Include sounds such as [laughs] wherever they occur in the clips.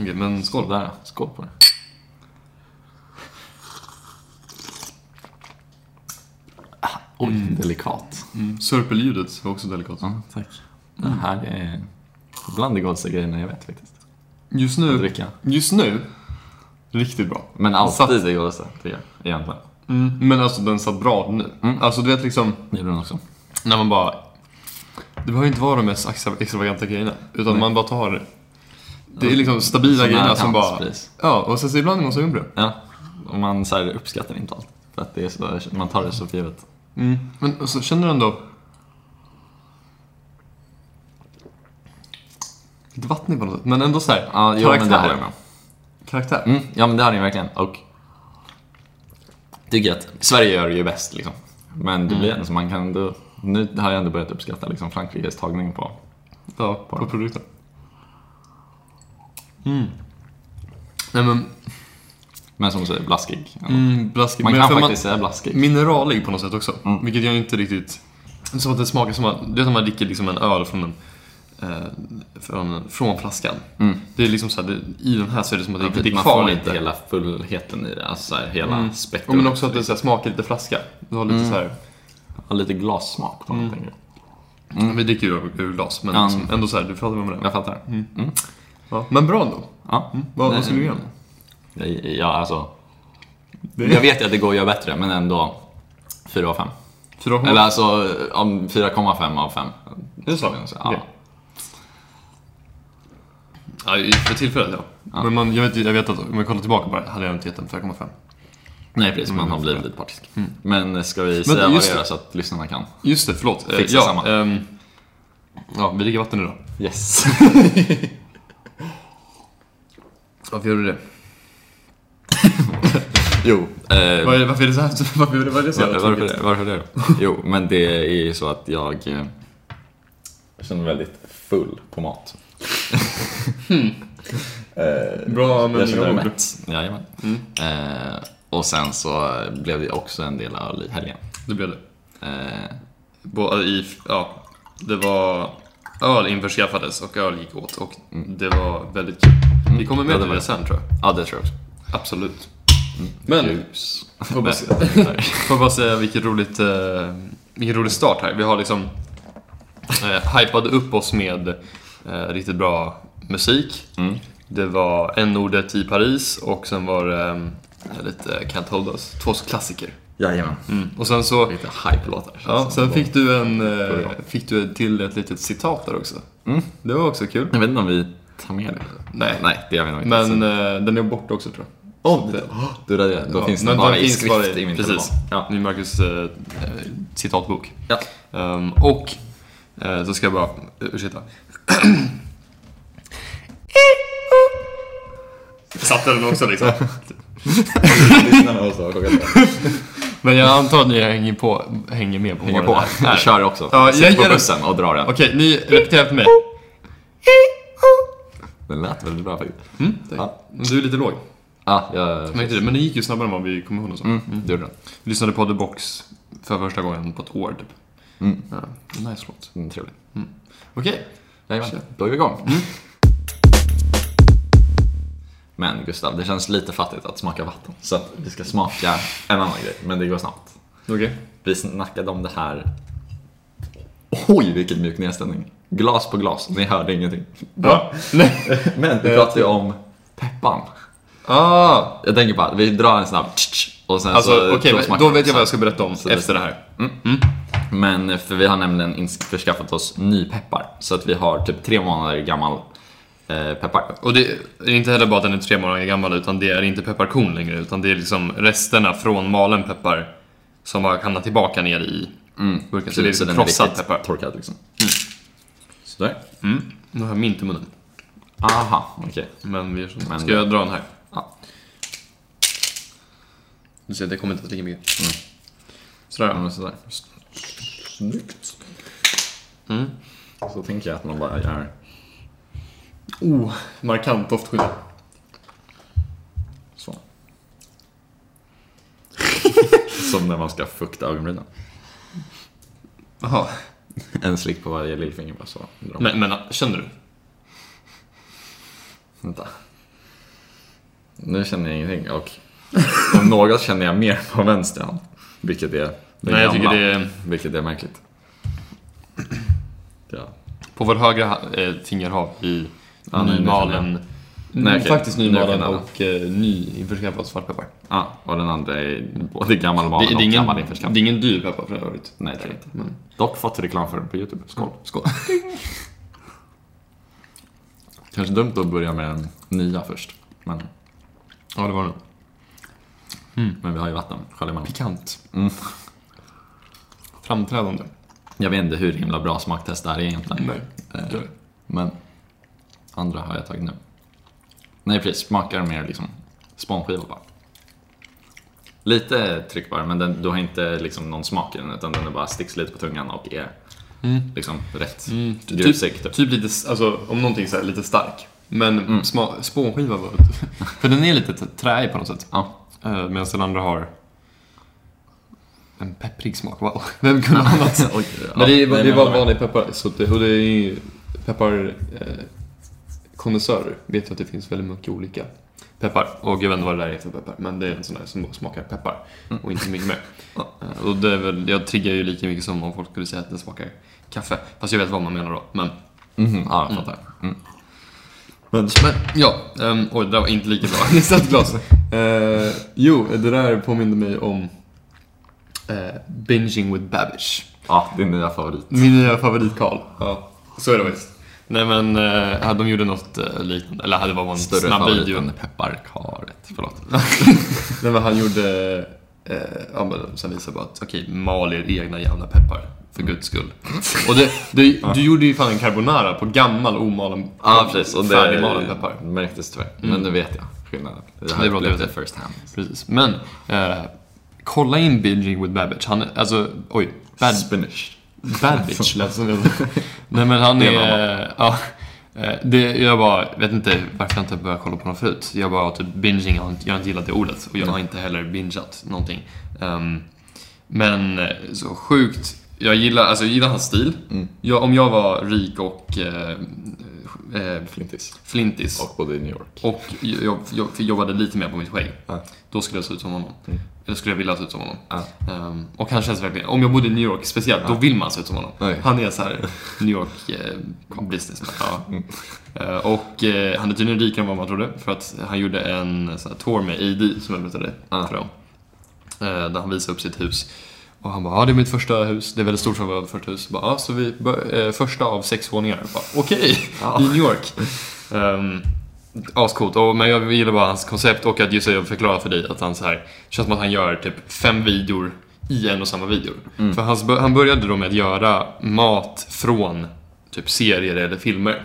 Okej, men skål. Sådär, skål på det. Ah, Oj, delikat. Mm. Sörpelljudet var också delikat. Ja, tack. Det här är bland de godaste grejerna jag vet faktiskt. Just Att nu, dricka. just nu, riktigt bra. Men alltid det godaste, tycker jag. Egentligen. Mm. Men alltså den satt bra nu. Mm. Alltså du vet liksom, Det gjorde den också. när man bara... Det behöver inte vara de mest extra- extravaganta grejerna, utan man bara tar... Det är liksom stabila Sån här grejerna som bara... handspris. Ja, och sen så ibland är man sugen på det. Ja, och man så här, uppskattar inte allt. För att det är så, man tar det så för givet. Men alltså, känner du ändå... Lite vattnig på något sätt, men ändå så här, Ja, jo, men det håller jag med karaktär. om. Karaktär. Mm, ja men det har den ju verkligen. Och tycker att Sverige gör det ju bäst liksom. Men det Mm. blir ändå så man kan ändå, nu har jag ändå börjat uppskatta liksom Frankrikes tagning på. Ja, på produkten. Mm. Nej Men som du säger, blaskig. men, mm, blaskigt. Man Mm. men kan för faktiskt säga blaskig. mineralig på något sätt också. Vilket jag inte riktigt... Det är Som att det smakar som att, det är som att man dricker liksom en öl från en, eh, från, från flaskan. Det är liksom så här, det, i den här så är det som att det, det är Mm. typ man kvar får lite. inte hela fullheten i det, alltså så här, hela Mm. Och spektrumet. men också att det så här, smakar lite flaska. Det har Mm. lite så här, Har lite glassmak på någonting. Mm. Vi dricker ju ur, ur glas, men Mm. Ja. liksom, ändå så här, du fattar vad jag menar. Jag fattar. Ja. Men bra ändå. Ja. Mm. Vad, Nej, vad skulle du göra? Jag, jag, alltså, jag vet ju att det går att göra bättre, men ändå 4 av 5. Fyra Eller alltså om 4,5 av 5. Är Mm. det så? Ja. Okej. Ja, i- för tillfället ja. Men man, jag, vet, jag vet att om jag kollar tillbaka bara hade jag inte gett en 4,5. Nej precis, man har blivit lite partisk. Men ska vi säga vad Mm. just vi gör det. så att lyssnarna kan? Just det, förlåt. Eh, Fixa ja, samma. ehm, ja, vi dricker vatten idag. Yes. Varför gör du det? [laughs] jo, eh, Var, varför är det så här? [laughs] Varför, var det så var- här? varför, det- varför det? då? [laughs] Jo, men det är ju så att jag eh, känner mig väldigt full på mat. Bra men Mm. jag känner mig ord. mätt. Jajamän. Eh, och sen så blev det också en del öl i helgen. Det blev det. Eh, Bå, i, ja, det var... Öl införskaffades och öl gick åt och det var väldigt kul. Vi kommer Ja, med till det var Mm. det det. sen tror jag. ja, det tror jag också. Mm. Absolut. Men Ljus. Får bara, [laughs] får bara säga vilket roligt, eh, vilken rolig start här. Vi har liksom eh, hypade upp oss med eh, riktigt bra musik. Mm. Det var n-ordet i Paris och sen var det eh, lite Can't Hold Us, två klassiker. Jajamän. Och sen så, Lite hype-låtar. Mm. ja, sen fick du, en, eh, bra. fick du till ett litet citat där också. Mm. Det var också kul. Jag vet inte om vi tar med det. Nej, Nej, det gör vi nog inte. men eh, den är borta också tror jag. Mm. Åh, du raderar. Då finns den men bara Ah, den i finns skrift bara i, min Precis, telefon. ja. Ja. i Marcus eh, eh, citatbok. Ja. Ehm, och eh, så ska jag bara, ursäkta. Satte den också liksom. [laughs] Men jag antar att ni hänger, på, hänger med på Hänger vad på. det här är. Jag kör också. Ja, Sitter jag på ger- bussen och drar den. Okej, ni repeterar efter mig. Den lät väldigt bra faktiskt. Ja. Du är lite låg. Ja, jag... Mm, Märkte det? Men det gick ju snabbare än vad vi kom ihåg. och så. Mm, det gjorde den. Vi lyssnade på The Box för första gången på ett år typ. Ja, nice låt. Mm, trevlig. Okej. Jajamän, då är vi igång. Mm. Men Gustav, det känns lite fattigt att smaka vatten. Så att vi ska smaka en annan grej, men det går snabbt. Okej. Vi snackade om det här... Oj, vilken mjuk nedställning. Glas på glas, ni hörde ingenting. Ja. Nej. Men vi pratade ju om peppan. [laughs] Ah, Jag tänker bara, vi drar en snabb tsch, och sen så... Alltså okej, då men smakar då vi. vet jag vad jag ska berätta om Så det- efter det här. Men eh, för vi har nämligen införskaffat oss nypeppar. Så att vi har typ tre månader gammal eh, peppar. Och det är inte heller bara att den är tre månader gammal, utan det är inte pepparkorn längre, utan det är liksom resterna från malen peppar som har hamnat tillbaka ner i burken. Så det är liksom krossad peppar. torkad liksom. Sådär. Nu har jag mint i munnen, Aha, okej. men vi gör så. Men- Ska jag dra den här? Ja. Du ser, det kommer inte att lika mycket. Sådär. Ja, men sådär. Snyggt. Mm. Så tänker jag att man bara gör... Oh, markant doftskillnad. Så. [laughs] Som när man ska fukta ögonbrynen. Jaha. En slick på varje lillfinger bara så. Men, men känner du? Vänta. Nu känner jag ingenting och om något känner jag mer på vänster hand. Vilket är det Nej, jag tycker det är... Vilket är märkligt. Ja. På vår högra ha- eh, finger har vi Ja, nu- nu nymalen... Nej, Mm, okej. Faktiskt Nu kan nymalen jag alla. och eh, nyinförskaffad svartpeppar. ja, Ah, och den andra är både gammal Det, mal det, och är ingen, gammal det införskaffad. är ingen dyr peppar för övrigt. Nej, det är det inte. Men, Dock fått reklam för den på YouTube. Skål. skål. [laughs] Kanske dumt att börja med den nya först. Men, Ja, det var det. men vi har ju vatten, skölj emellan. Pikant. Mm. Framträdande. Jag vet inte hur himla bra smaktest det här är egentligen. Nej. Eh, Men andra har jag tagit nu. Nej precis, smakar mer liksom spånskiva bara. Lite tryck bara, men den, du har inte liksom någon smak i den utan den är bara sticks lite på tungan och är Mm. liksom rätt Mm. [laughs] grusig. Typ. Typ lite, s- alltså om någonting så här, lite stark. Men sma, spånskiva var det. Mm. [laughs] För den är lite t- träig på något sätt. Ja. Eh, Medan den andra har en pepprig smak. Wow. [laughs] Vem kunde ha annat? [laughs] Oj, Men det, ja, är- det är nej, men bara jag håller med. vanlig peppar. Så det, och det är ju peppar... Eh, kondensörer vet jag att det finns väldigt mycket olika peppar. Och jag vet inte vad det där är för peppar. Men det är en sån där som bara smakar peppar. Och inte mycket mer. Ja. Eh, Och det är väl, jag triggar ju lika mycket som om folk skulle säga att den smakar kaffe. Fast jag vet vad man menar då. Men, Mhm, ja, jag fattar. Mm. Men, men ja, ehm, oj det där var inte lika bra. [laughs] Det satt glas. Eh, jo, det där påminner mig om eh, Binging with Babish. ja, din nya favorit. Min nya favorit Karl. Ja, så är det faktiskt. Nej men, eh, de gjorde något eh, liknande, eller det var bara en Större snabb favorit video. än pepparkaret. [laughs] Förlåt. Nej men han gjorde, eh, ja men sen visade bara att okej, mal er egna jävla peppar. För guds skull. Och det, det, du gjorde ju fan en carbonara på gammal omalen, Ja, precis. Och färdigmalen peppar. det märktes tyvärr. Men nu vet jag skillnaden. Det här Mm. Det är bra att du upplevde vet jag first hand. Precis. Men, eh, kolla in Binging with Babbage. Han är, alltså, oj. Bad, Spanish. Babbage lät [laughs] som jag Nej men han Det är... var Ja, eh, det, jag bara, vet inte varför jag inte började kolla på honom förut. Jag bara, typ binging, jag har inte- jag har inte gillat det ordet. Och jag har inte heller bingeat någonting. Ehm, men eh, så sjukt, jag gillar, alltså, jag gillar hans stil. Mm. Jag, om jag var rik och eh, eh, Flintis. flintis Och bodde i New York. och jag, jag, jag jobbade lite mer på mitt skägg, Ja. då skulle jag se ut som honom. Mm. Eller skulle jag vilja se ut som honom. Ja. Ehm, och han känns verkligen, om jag bodde i New York speciellt, då vill man se ut som honom. Oj. Han är så [laughs] här New York eh, businessman. Ja. Eh, och eh, han är tydligen rikare än vad man trodde, för att han gjorde en sån här tour med AD, som jag berättade Ja. för dem. Eh, där han visade upp sitt hus. Och han bara, ja det är mitt första hus, det är väldigt stort för att vara första hus. Bara, ja, så vi, bör- eh, första av sex våningar. Bara, Okej, Ja. i New [laughs] York. Um, Ascoolt, Och- men jag gillar bara hans koncept och att just det jag förklarar för dig att han så här, det känns som att han gör typ fem videor i en och samma video. För hans, bör- han började då med att göra mat från typ serier eller filmer.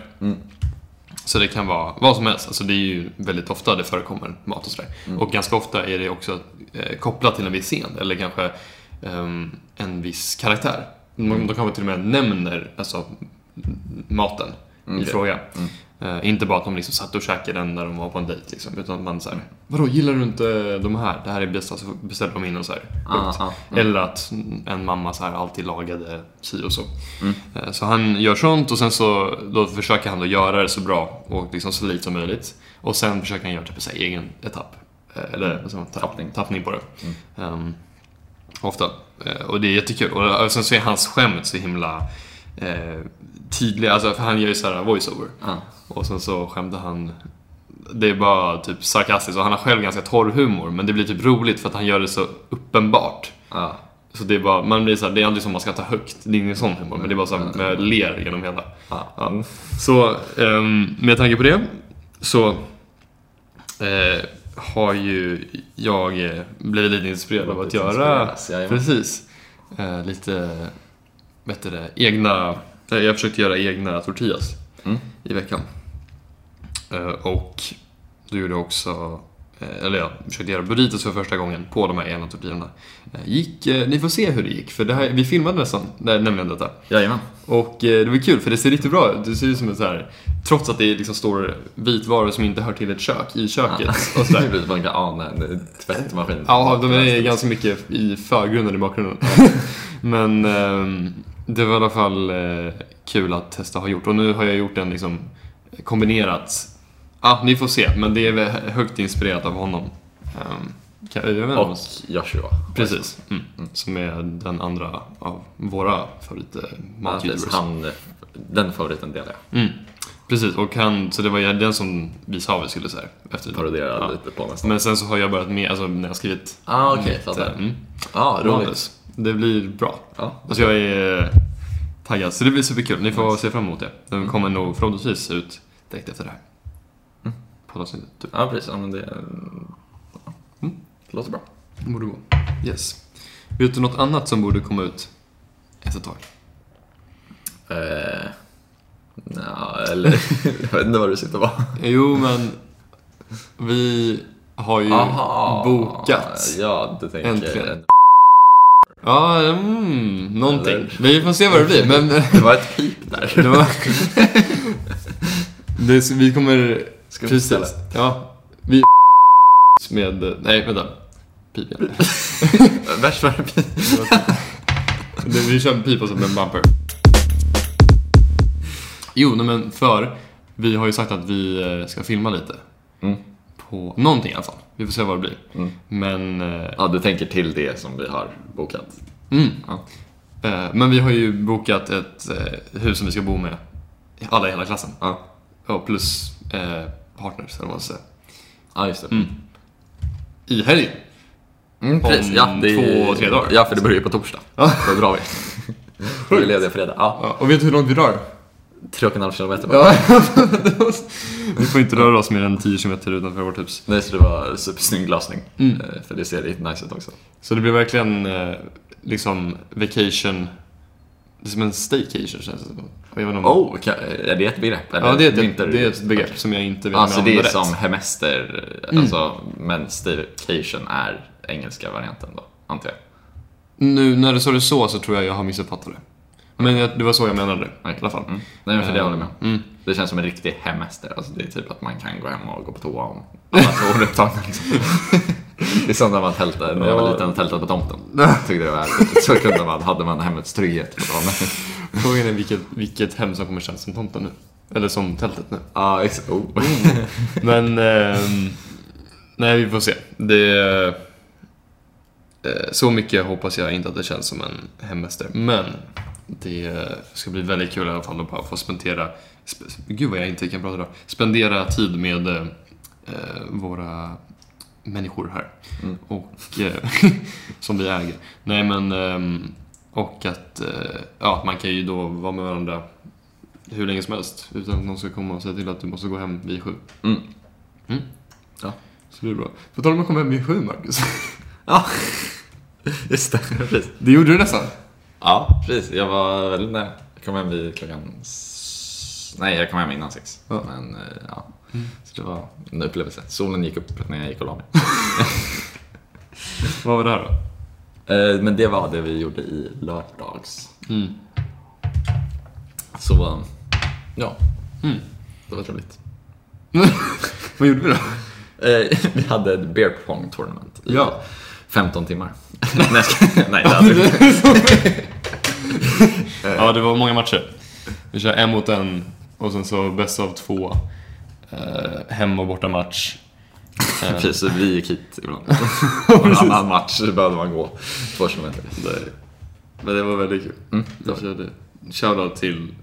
Så det kan vara vad som helst. Alltså det är ju väldigt ofta det förekommer mat och sådär. Mm. Och ganska ofta är det också eh, kopplat till en viss scen eller kanske ehm, en viss karaktär. Mm. De kanske till och med nämner alltså, m- maten i Mm, Okej. fråga. Eh, inte bara att de liksom satt och käkade den när de var på en dejt. Liksom, utan att man såhär, vadå gillar du inte de här? Det här är bästa, så beställde de in och såhär. Ah, sjukt. ah. Eller att en mamma så här alltid lagade si och så. Eh, Så han gör sånt och sen så då försöker han då göra det så bra och liksom så lite som möjligt. Och sen försöker han göra typ en egen etapp. Eh, Eller vad säger man? Ta- Tappning. tappning på det. Ehm, ofta. Eh, Och det är jättekul. Och och sen så är hans skämt så himla eh, tydliga. Alltså, för han gör ju så här voiceover. Ja. Och sen så skämtar han det är bara typ sarkastiskt och han har själv ganska torr humor men det blir typ roligt för att han gör det så uppenbart. Ja. Så det är bara, man blir så här, det är aldrig som man ska ta högt, det är ingen sån humor, men det är bara så här, man ler genom hela. Ja. Mm. Så ehm, med tanke på det så eh, har ju jag eh, blivit lite inspirerad av att Lite göra, inspireras, jajamän. precis, eh, lite, vad heter det, egna, eh, jag försökte göra egna tortillas Mm. i veckan. Eh, och då gjorde jag också, eh, eller jag försökte göra burritos för första gången på de här egna tortillorna. Eh, gick, eh, ni får se hur det gick, för det här, vi filmade nästan, det- nämligen detta. Jajamän. Och eh, det var kul för det ser riktigt bra ut. Det ser ut som en så här, trots att det liksom står vitvaror som inte hör till ett kök i köket. Ah. Och så [laughs] Nu där. blir man kan ana en eh, tvättmaskin. Ja, de är ganska mycket i förgrunden i [laughs] bakgrunden. Men ehm, det var i alla fall eh, kul att testa ha gjort. Och nu har jag gjort en liksom kombinerat Ja, ni får se, men det är väl högt inspirerat av honom. Ehm, kan- jag vet inte om- Och Joshua. Precis. Mm. Som är den andra av våra eh, favoritmatvideor. Precis, han, eh, den favoriten delar jag. Mm. Precis, och han, så det var ju den som vi sa vi skulle så här, efter Paroderar Ja. lite på nästan. Men sen så har jag börjat med, alltså när jag har skrivit Ah, okej, mitt, fattar. eh, mm, Ja, roligt. manus. Det blir bra. Ja. Alltså jag är eh, taggad, så det blir superkul. Ni får se fram emot det. Mm. Den kommer nog förhoppningsvis ut direkt efter det här. Mm. Poddavsnittet, typ. ja, precis. Ja, men det ja. Mm. Det låter bra. Borde gå. Yes. Vet du något annat som borde komma ut efter ett tag? Eh, nja, eller [laughs] jag vet inte vad du sitter på. Jo, men vi har ju Aha. bokat. Ja, du tänker... Äntligen. Ja, mm, någonting. Eller? Vi får se vad det blir, [laughs] men Det var ett pip där. det var... det, är så- vi kommer... [laughs] Ska vi beställa? precis. Ja, vi med... Nej, vänta. Pip [laughs] igen. Värst var det pip. Det- Vi kör en pipa som en bumper. Jo, nej, men för vi har ju sagt att vi eh, ska filma lite. Mm. På någonting i alla fall. Vi får se vad det blir. Mm. Men, eh, Ja, du tänker till det som vi har bokat. mm. Ja. Eh, men vi har ju bokat ett eh, hus som vi ska bo med. Alla i hela klassen. Ja, Ja, plus eh, partners, eller vad man ska säga. ja just det. Mm. I helgen. Mm, precis. Om Ja, det är- två, tre dagar. Ja, för det börjar ju på torsdag. Ja. Då [laughs] drar vi. Då är vi lediga fredag. Ja, Ja, och vet du hur långt vi drar? tre och en halv kilometer bara. Ja. [laughs] vi får inte röra oss mer än 10 km utanför vårt hus. Nej, så det var supersnygg glasning. Mm. Eh, För det ser riktigt nice ut också. Så det blir verkligen eh, liksom vacation. Det är som en staycation känns det som. Jag vet inte om- Oh, ka- är det ett begrepp? Eller ja, det är, ett, vinter- det är ett begrepp som jag inte vet om Alltså jag det är använder som rätt. hemester, alltså, men staycation är engelska varianten då, antar jag. Nu när du sa det så så tror jag jag har missuppfattat det. Men jag, det var så jag menade det i alla fall. Mm. Nej men för det håller jag med om. Mm. Det känns som en riktig hemester, alltså det är typ att man kan gå hem och gå på toa om alla toor är upptagna liksom. [laughs] Det är som när man tältade, när jag var Ja. liten och tältade på [laughs] tomten. Tyckte det var härligt. Så kunde man, hade man hemmets trygghet på dagen. Frågan är vilket, vilket hem som kommer kännas som tomten nu. Eller som tältet nu. [laughs] Ja, ex- oh. Men... ehm, nej, vi får se. Det... eh, Så mycket hoppas jag inte att det känns som en hemester. Men det eh, ska bli väldigt kul i alla fall att bara få spendera... Sp- gud vad jag inte kan prata idag. Spendera tid med eh, eh, våra människor här. Mm. Och... eh, [laughs] som vi äger. Nej men... ehm, och att eh, ja, man kan ju då vara med varandra hur länge som helst utan att någon ska komma och säga till att du måste gå hem vid sju. Mm. Mm. Ja. Så det är bra. På tal om att komma hem vid sju, Marcus. Ja, just det. Precis. Det gjorde du nästan. Ja, precis. Jag var väldigt nära. Jag kom hem vid klockan... s- Nej, jag kom hem innan sex. Ja. Men eh, ja, så det var en upplevelse. Solen gick upp när jag gick och la mig. Vad var det här då? Eh, Men det var det vi gjorde i lördags. Mm. Så eh, ja, Mm. det var trevligt. [laughs] Vad gjorde vi då? Eh, [laughs] Vi hade ett beer pong tournament i Ja. [laughs] 15 timmar. Nej, jag ska- Nej, det hade vi inte. eh, ja, det var många matcher. Vi kör en mot en och sen så bäst av två. Eh, hem och Eh, bortamatch. Precis, så vi gick hit [laughs] ibland. Och en annan match så behövde man gå två kilometer. Nej. Men det var väldigt kul. Mm. Jag körde shoutout till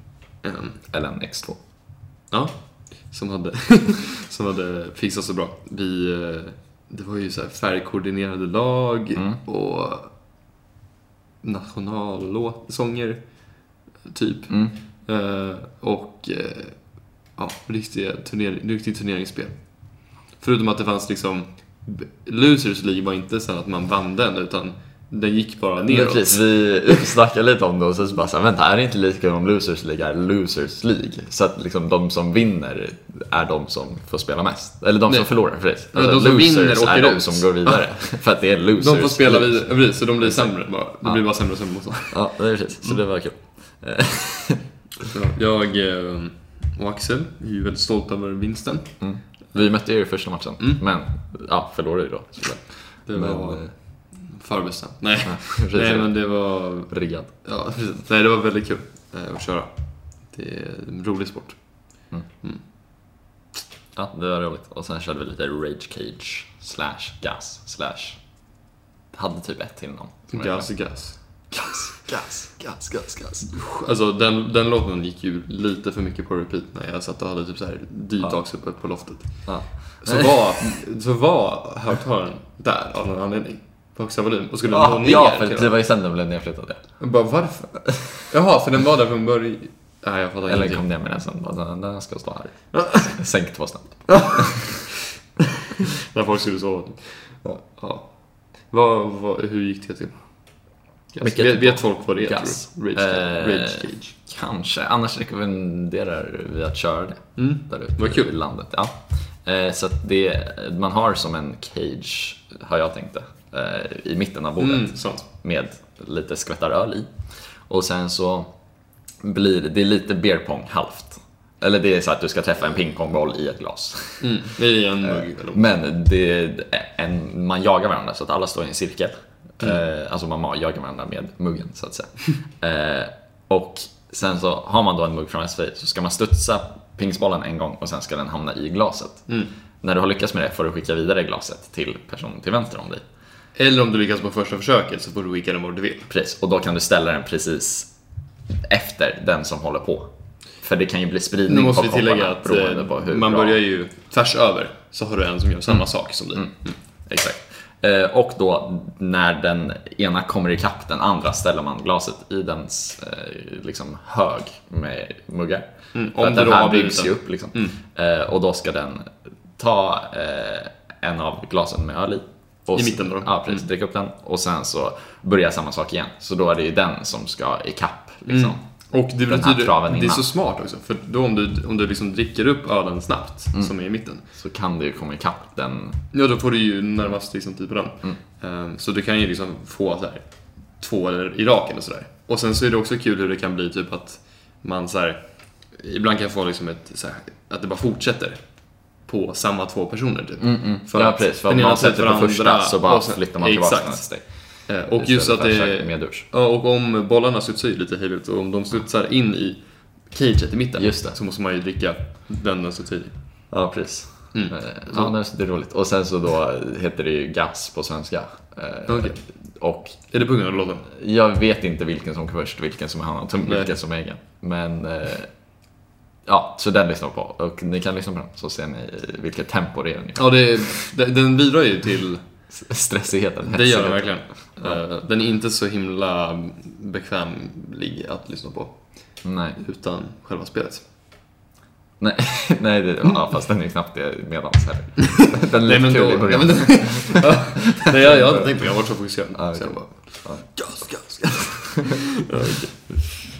en LNX2. Ja, som hade, [laughs] som hade fixat så bra. Vi, eh, det var ju så här färgkoordinerade lag Mm. och nationallåtsånger, typ. Mm. Eh, Och eh, ja, riktiga turnering, riktigt turneringsspel. Förutom att det fanns liksom... b- Losers League var inte så här att man vann den, utan den gick bara Men neråt. Precis, vi snackade lite om det och sen så bara såhär, vänta är det inte lika kul om Losers League är Losers League? Så att liksom de som vinner är de som får spela mest. Eller de Nej. som förlorar, precis. Ja, de som losers vinner är åker de ut. som går vidare. För att det är Losers De får spela League. vidare, precis, så de blir sämre. Bara. Det blir bara sämre och sämre motstånd. Ja, det är precis. Så det var kul. Mm. Jag eh, och Axel är ju väldigt stolta över vinsten. Mm. Vi mötte er i första matchen, men ja, förlorade ju då. såklart. Det Men, var [laughs] eh, förbestämt. Nej. [laughs] precis. Nej, men det var... Riggad. Ja, precis. Nej, det var väldigt kul eh, att köra. Det är en rolig sport. Mm. Mm. Ja, det var roligt. Och sen körde vi lite Rage Cage slash Gas slash... Hade typ ett till någon. som jag Gas, gas. Gas, gas, gas, gas, gas. Alltså den, den låten gick ju lite för mycket på repeat när jag satt och hade typ så här detox uppe på loftet. Ja. Så var, så var högtalaren där av någon anledning. På högsta volym och skulle nå Ah, Ja, ner ja, för till det var ju sen den blev nedflyttad. ja. Jag bara varför? Jaha, för den var där från början. Nej, jag fattar Eller ingenting. kom ner med den sen. Bara, Den den ska stå här. [laughs] Sänkt var snabbt. När folk skulle sova. Ja. ja. Vad, vad, hur gick det till? Gas. Vilket- Vet, vet folk vad det är? Gas. tror du? Rage, Eh, Rage Cage. Kanske. Annars rekommenderar vi att köra det. Där ute Mm. Vad kul. i landet. Ja. Eh, Så att det, man har som en cage, har jag tänkt det, eh, i mitten av bordet. Mm, sant. med lite skvättar öl i. Och sen så blir det, det är lite beer pong halvt. Eller det är så att du ska träffa en pingpongboll i ett glas. Mm. Det är en mugg. eller- Men det är en, man jagar varandra så att alla står i en cirkel. Mm. Eh, alltså man ma- jagar varandra med muggen så att [laughs] säga. eh, och sen så har man då en mugg framför sig så ska man studsa pingsbollen en gång och sen ska den hamna i glaset. Mm. När du har lyckats med det får du skicka vidare glaset till personen till vänster om dig. Eller om du lyckas på första försöket så får du skicka den vart du vill. Precis, och då kan du ställa den precis efter den som håller på. För det kan ju bli spridning Nu måste på vi tillägga kopparna att beroende eh, på hur man bra- Mm. börjar ju tvärs över så har du en som gör samma sak som du. Exakt. Eh, Och då när den ena kommer ikapp den andra ställer man glaset i dens eh, liksom, hög med muggar. För Mm, om att det den då här har blivit Mm. byggs en. ju upp liksom. Eh, Och då ska den ta eh, en av glasen med öl i. Och I sen- mitten då? Mm. Ja, precis. Dricka upp den och sen så börjar samma sak igen. Så då är det ju den som ska ikapp liksom. Mm. Och det här traven betyder, det är innan. så smart också, för då om du, om du liksom dricker upp ölen snabbt, Mm. som är i mitten, så kan det ju komma ikapp den. ja då får du ju närmast liksom typ den. Mm. Ehm, Så du kan ju liksom få så här, två eller i raken och sådär. Och sen så är det också kul hur det kan bli typ att man så här, ibland kan få liksom ett, så här, att det bara fortsätter på samma två personer typ. För ja, precis. För att den ena man sätter på varandra första så bara och sen- flyttar man tillbaka den ett Exakt. steg. Eh, Och just Istället att för det försöka Med dusch. Ja, och om bollarna studsar ju lite hejvilt och om de studsar in i caget i mitten Just det. så måste man ju dricka den den studsar i. Ja, precis. Mm. Eh, Ja, nej, så det är roligt. Och sen så då heter det ju gas på svenska. Eh, Okej. Och Är det på grund av låten? jag vet inte vilken som kom först, vilken som är Hanna och Tum- Nej. vilken som är egen. Men eh, ja, så den lyssnar vi på. Och ni kan lyssna på den så ser ni vilket tempo det är ungefär. Ja, det, den- den bidrar ju till... Stressigheten. Det gör den hetsigheten. verkligen. Eh, Den är inte så himla bekvämlig att lyssna på [laughs] Nej. utan själva spelet. [laughs] Nej, nej det, ja, fast den är ju knappt det medans heller. Den Nej lät men, kul i då, ja, början. men [laughs] Ja. Nej, jag, jag hade tänkt på det, jag var så fokuserad. Ja, Så jag okej. bara, Ja. gas, gas, gas. [laughs] Ja, okej.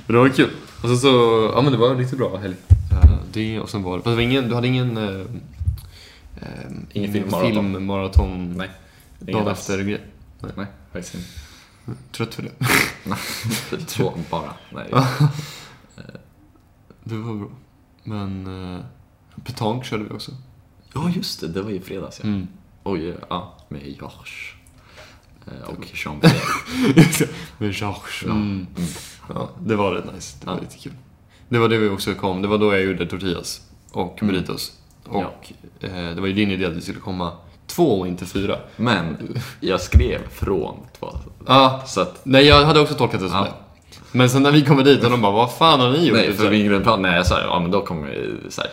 Men det var kul. Och sen så, ja men det var en riktigt bra helg. Eh, Det och sen var det, fast det var ingen, du hade ingen... eh, eh, Ingen filmmaraton. filmmaraton Nej. dagen efter grej. Nej, faktiskt inte. Trött för det. Nej, [laughs] Två bara. Nej. Det var bra. Men eh, petank körde vi också. Ja, just det. Det var ju i fredags ja. Mm. Oj, ja. Med Josh. Eh, Och Jean-Pierre. [laughs] Med Georges. Ja. Mm. Mm. Ja, det var rätt nice. Det var Ja. lite kul. Det var det vi också kom. Det var då jag gjorde tortillas och Mm. burritos. Och eh, det var ju din idé att vi skulle komma två och inte fyra. Men jag skrev från två. Ja, Så att, nej jag hade också tolkat det som Ja. det. Men sen när vi kommer dit och de bara, vad fan har ni gjort? nej, Så här, för min grundplan, nej jag sa ja men då kommer vi så här,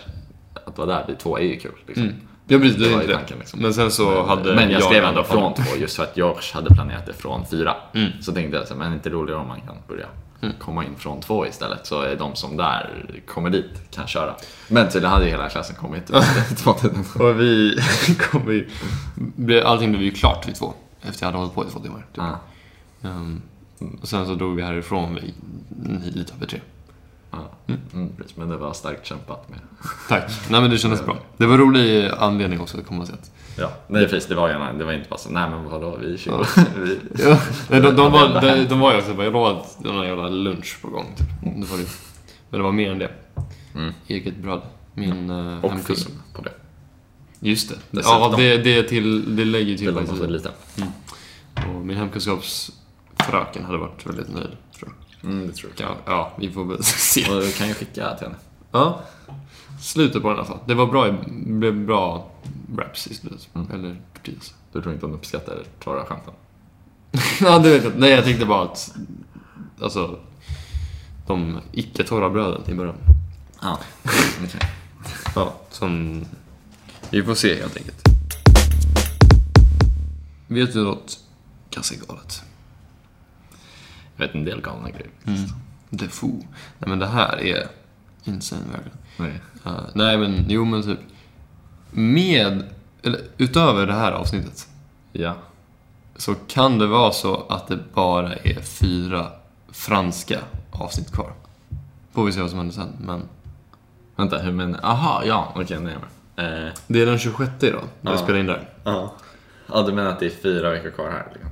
att vara där vid två är ju kul. Liksom. jag bryter inte Det var ju Mm. det. tanken, liksom. Men sen så hade Men jag skrev ändå i alla från fall- två just för att George hade planerat det från fyra. Mm. Så tänkte jag så här, men är det inte roligare om man kan börja komma in från två istället så är de som där kommer dit kan köra. Men tydligen hade ju hela klassen [laughs] kommit vid tvåtiden. Och vi [laughs] kom ju... blev- Allting blev ju klart vid två. Efter jag hade hållit på i två timmar. Typ. Ja, Ehm, och sen så drog vi härifrån vid lite över tre. ja. Mm, precis. men det var starkt kämpat med. Tack. Nej men det kändes bra. Det var en rolig anledning också att komma sent. Ja, nej precis, det var ju en annan- det var inte bara så, nej men vadå, vi är 20. [laughs] vi, Ja. [laughs] Nej, de, de, var, de, de var ju också bara, jag lovade att det var någon jävla lunch på gång. Typ. Det var det. ju. Men det var mer än det. Mm. Eget bröd. Min eh, och hemkusin. film på det. Just det. Dessutom. Ja, det, det, är till, det lägger ju till. Det var så faktiskt. lite. Och min hemkunskapsfröken hade varit väldigt nöjd. Tror jag. Mm, det tror jag. Ja, ja, vi får väl [laughs] se. Och du kan ju skicka till henne. Ja. Slutet på den i alla fall. Det var bra, blev bra raps i slutet. Mm. Eller precis. [laughs] Du tror inte hon uppskattar torra skämten? ja, det vet jag inte. Nej, jag tänkte bara att... Alltså... De icke-torra bröden i början. Ja. [laughs] Okej. Ja, som... Vi får se helt enkelt. Vet du något ganska galet? Jag vet en del galna grejer. The Foo. Nej men det här är insane verkligen. Nej. Uh, nej men, jo men typ. Med, eller utöver det här avsnittet, Ja. så kan det vara så att det bara är fyra franska avsnitt kvar. Får vi se vad som händer sen, men. Vänta, hur menar Aha, ja. Okej, nu är jag med. Eh, Det är den 26 idag, när vi Ja. spelar in där. ja. du menar att det är fyra veckor kvar här? Liksom.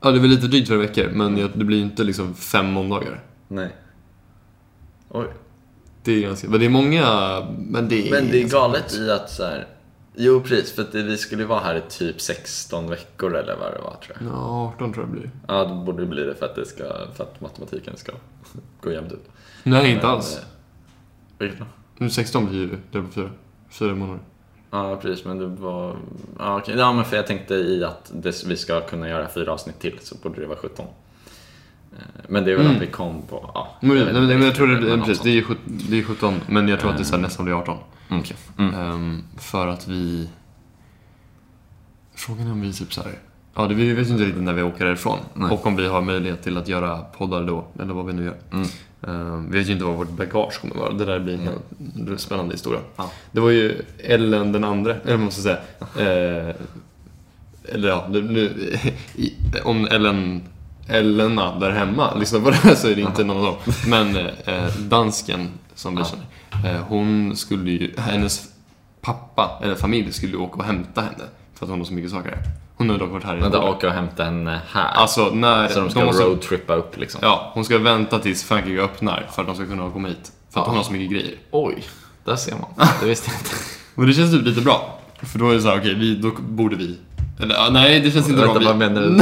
Ja, det är väl lite drygt fyra veckor, men jag- det blir ju inte liksom fem måndagar. Nej. Oj. Det är ganska, men det är många, men det är... Men det är galet i att så här... Jo, precis. För att det, vi skulle ju vara här i typ 16 veckor eller vad det var, tror jag. Ja, 18 tror jag det blir. Ja, det borde bli det för att, det ska, för att matematiken ska gå jämnt ut. Nej, inte Men, alls. eh, Vilket då? Nu 16 blir ju det på fyra. Fyra månader. Ja, precis. Men det var... Ja, okej. ja men för jag tänkte i att det, vi ska kunna göra fyra avsnitt till så borde det vara 17. Eh, Men det är väl Mm. att vi kom på... Ja, Men, jag jag, vet nej, inte men jag riktigt, tror det blir, men precis, något det är, sjut- det är 17, men jag tror att det är så här, nästan blir 18. sånt. Mm, okej. Mm. Ehm, för att vi... Frågan är om vi typ så här... Ja, det, vi vet ju inte riktigt när vi åker härifrån. Nej. Och om vi har möjlighet till att göra poddar då, eller vad vi nu gör. Mm. Ehm, vi vet ju inte vad vårt bagage kommer vara. Det där blir en helt spännande historia. Ja. Det var ju Ellen den andra, eller vad man [laughs] ska säga. Eh, eller ja, nu, nu, i, om Ellen, Elena där hemma lyssnar på det här så är det inte någon av dem. [laughs] Men eh, dansken som vi Ja. känner, eh, hon skulle ju, hennes pappa, eller familj skulle ju åka och hämta henne. För att hon har så mycket saker här. Hon har dock varit här i Vänta, år. åka och hämta henne här. Alltså när... så de ska måste- roadtrippa upp liksom. Ja, hon ska vänta tills Frankrike öppnar för att de ska kunna komma hit. För att hon har så mycket grejer. Oj, där ser man. Det visste jag inte. Men det känns typ lite bra. För då är det så här, okej, vi, då borde vi... Eller ja, nej, det känns inte Vänta, bra. Vi- vad menar du?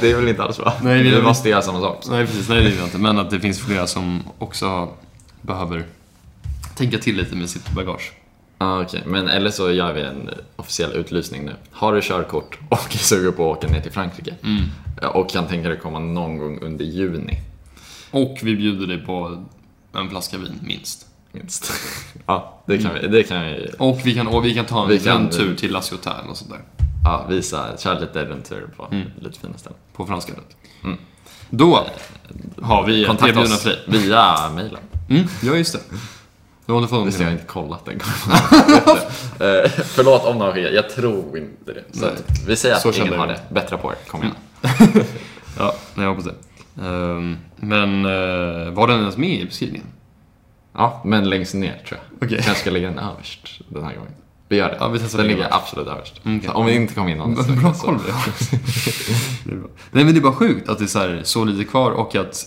Det är väl inte alls bra? Nej, vi- vi måste göra samma sak. Nej, precis. Nej, det är det inte. Men att det finns flera som också behöver tänka till lite med sitt bagage. Ah, Okej, men eller så gör vi en officiell utlysning nu. Har du körkort och är sugen på att åka ner till Frankrike Mm. Ja, och kan tänka dig komma någon gång under juni, Och vi bjuder dig på en flaska vin, minst. minst. [laughs] ja, det kan vi. Det kan vi Och vi kan, och vi kan ta en Vi kan- rundtur till La Ciotat och sånt där. ja, visa, köra lite rundtur på Mm. lite fina ställen. På franska. Då har vi ett Mm. Eh, Kontakta erbjudande oss för dig. via mejlen. Mm, ja, just det. Du har inte fått Just någonting. det, jag har inte kollat den gången. [laughs] Eh, Förlåt om det har skickat, jag tror inte det. Så Nej. att vi säger att Så kände ingen har jag. det. Bättra på er, kom igen. Ja, nej, jag hoppas det. Ehm, men eh, var den ens med i beskrivningen? Ja, men längst ner tror jag. Okej. Kanske ska lägga den överst den här gången. Vi gör det. Ja, vi testar den lägga ligger överst. absolut överst. Mm, okej. Om vi inte kommer in någon Bra koll. Det är bra. Nej men det är bara sjukt att det är så, här, så lite kvar och att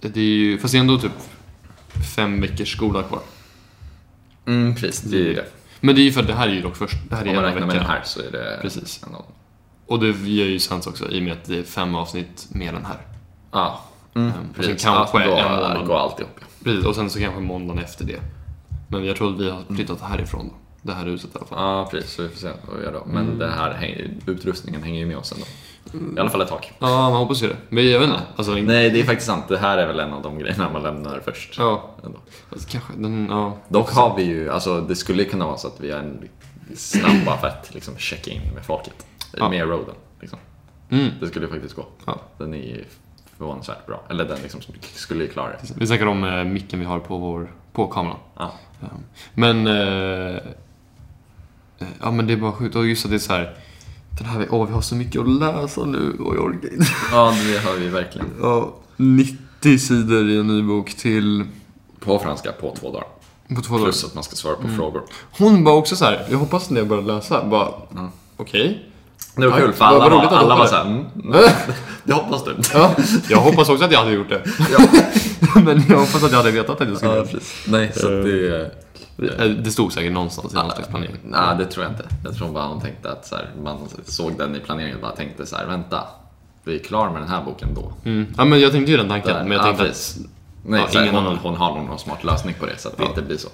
det är ju, fast det är ändå typ fem veckors skola kvar. Mm, precis. Det är ju det. Men det är ju för att det här är ju dock först, det här är Om man ena räknar veckan. med den här så är det... Precis. en av- Och det gör ju sens också i och med att det är fem avsnitt mer än här. Ja. Mm, och sen precis. kanske ja, då en månad. går alltihop. ja. Precis, och sen så kanske måndagen efter det. Men jag tror att vi har Mm. flyttat härifrån då. Det här huset i alla fall. Ja, precis. Så vi får se vad vi gör då. Men Mm. det här hänger, utrustningen hänger ju med oss ändå. I alla fall ett tag. Ja, man hoppas ju det. Men jag vet inte. Alltså, Nej, det är faktiskt sant. Det här är väl en av de grejerna man lämnar först. Ja, Ändå. alltså, kanske. Den, ja. Dock har vi ju, alltså det skulle kunna vara så att vi har en snabb affärt, liksom checka in med folket. Ja. Med roaden. Liksom. Mm. Det skulle faktiskt gå. Ja. Den är ju förvånansvärt bra. Eller den liksom skulle ju klara det. Vi snackar om eh, micken vi har på, vår, på kameran. Ja. Ja. Men... Eh, eh, ja, men det är bara sjukt. Och just att det är så här... Den här, åh, vi har så mycket att läsa nu och jag orkar [laughs] inte. ja, det har vi verkligen. Ja, 90 sidor i en ny bok till... På franska på två dagar. På två dagar. Mm. Plus att man ska svara på frågor. Hon var också så här, jag hoppas när jag börjar läsa, bara... Mm. Okej. Det var Ja, kul för vad- alla vad roligt var, att du alla var hoppade. såhär, mm, [laughs] jag hoppas du. Ja, jag hoppas också att jag hade gjort det. [laughs] men jag hoppas att jag hade vetat att jag skulle Ja, göra precis. Nej, så att det... det. Eh, Det stod säkert någonstans i någon slags planering. Nej, det tror jag inte. Jag tror bara hon tänkte att så här, man såg den i planeringen och bara tänkte så här, vänta, vi är klar med den här boken då. Mm. Ja, men jag tänkte ju den tanken, Där. men jag Ja, tänkte att precis. Nej, Ja, så här, ingen hon, annan. hon har någon smart lösning på det så att det inte blir så.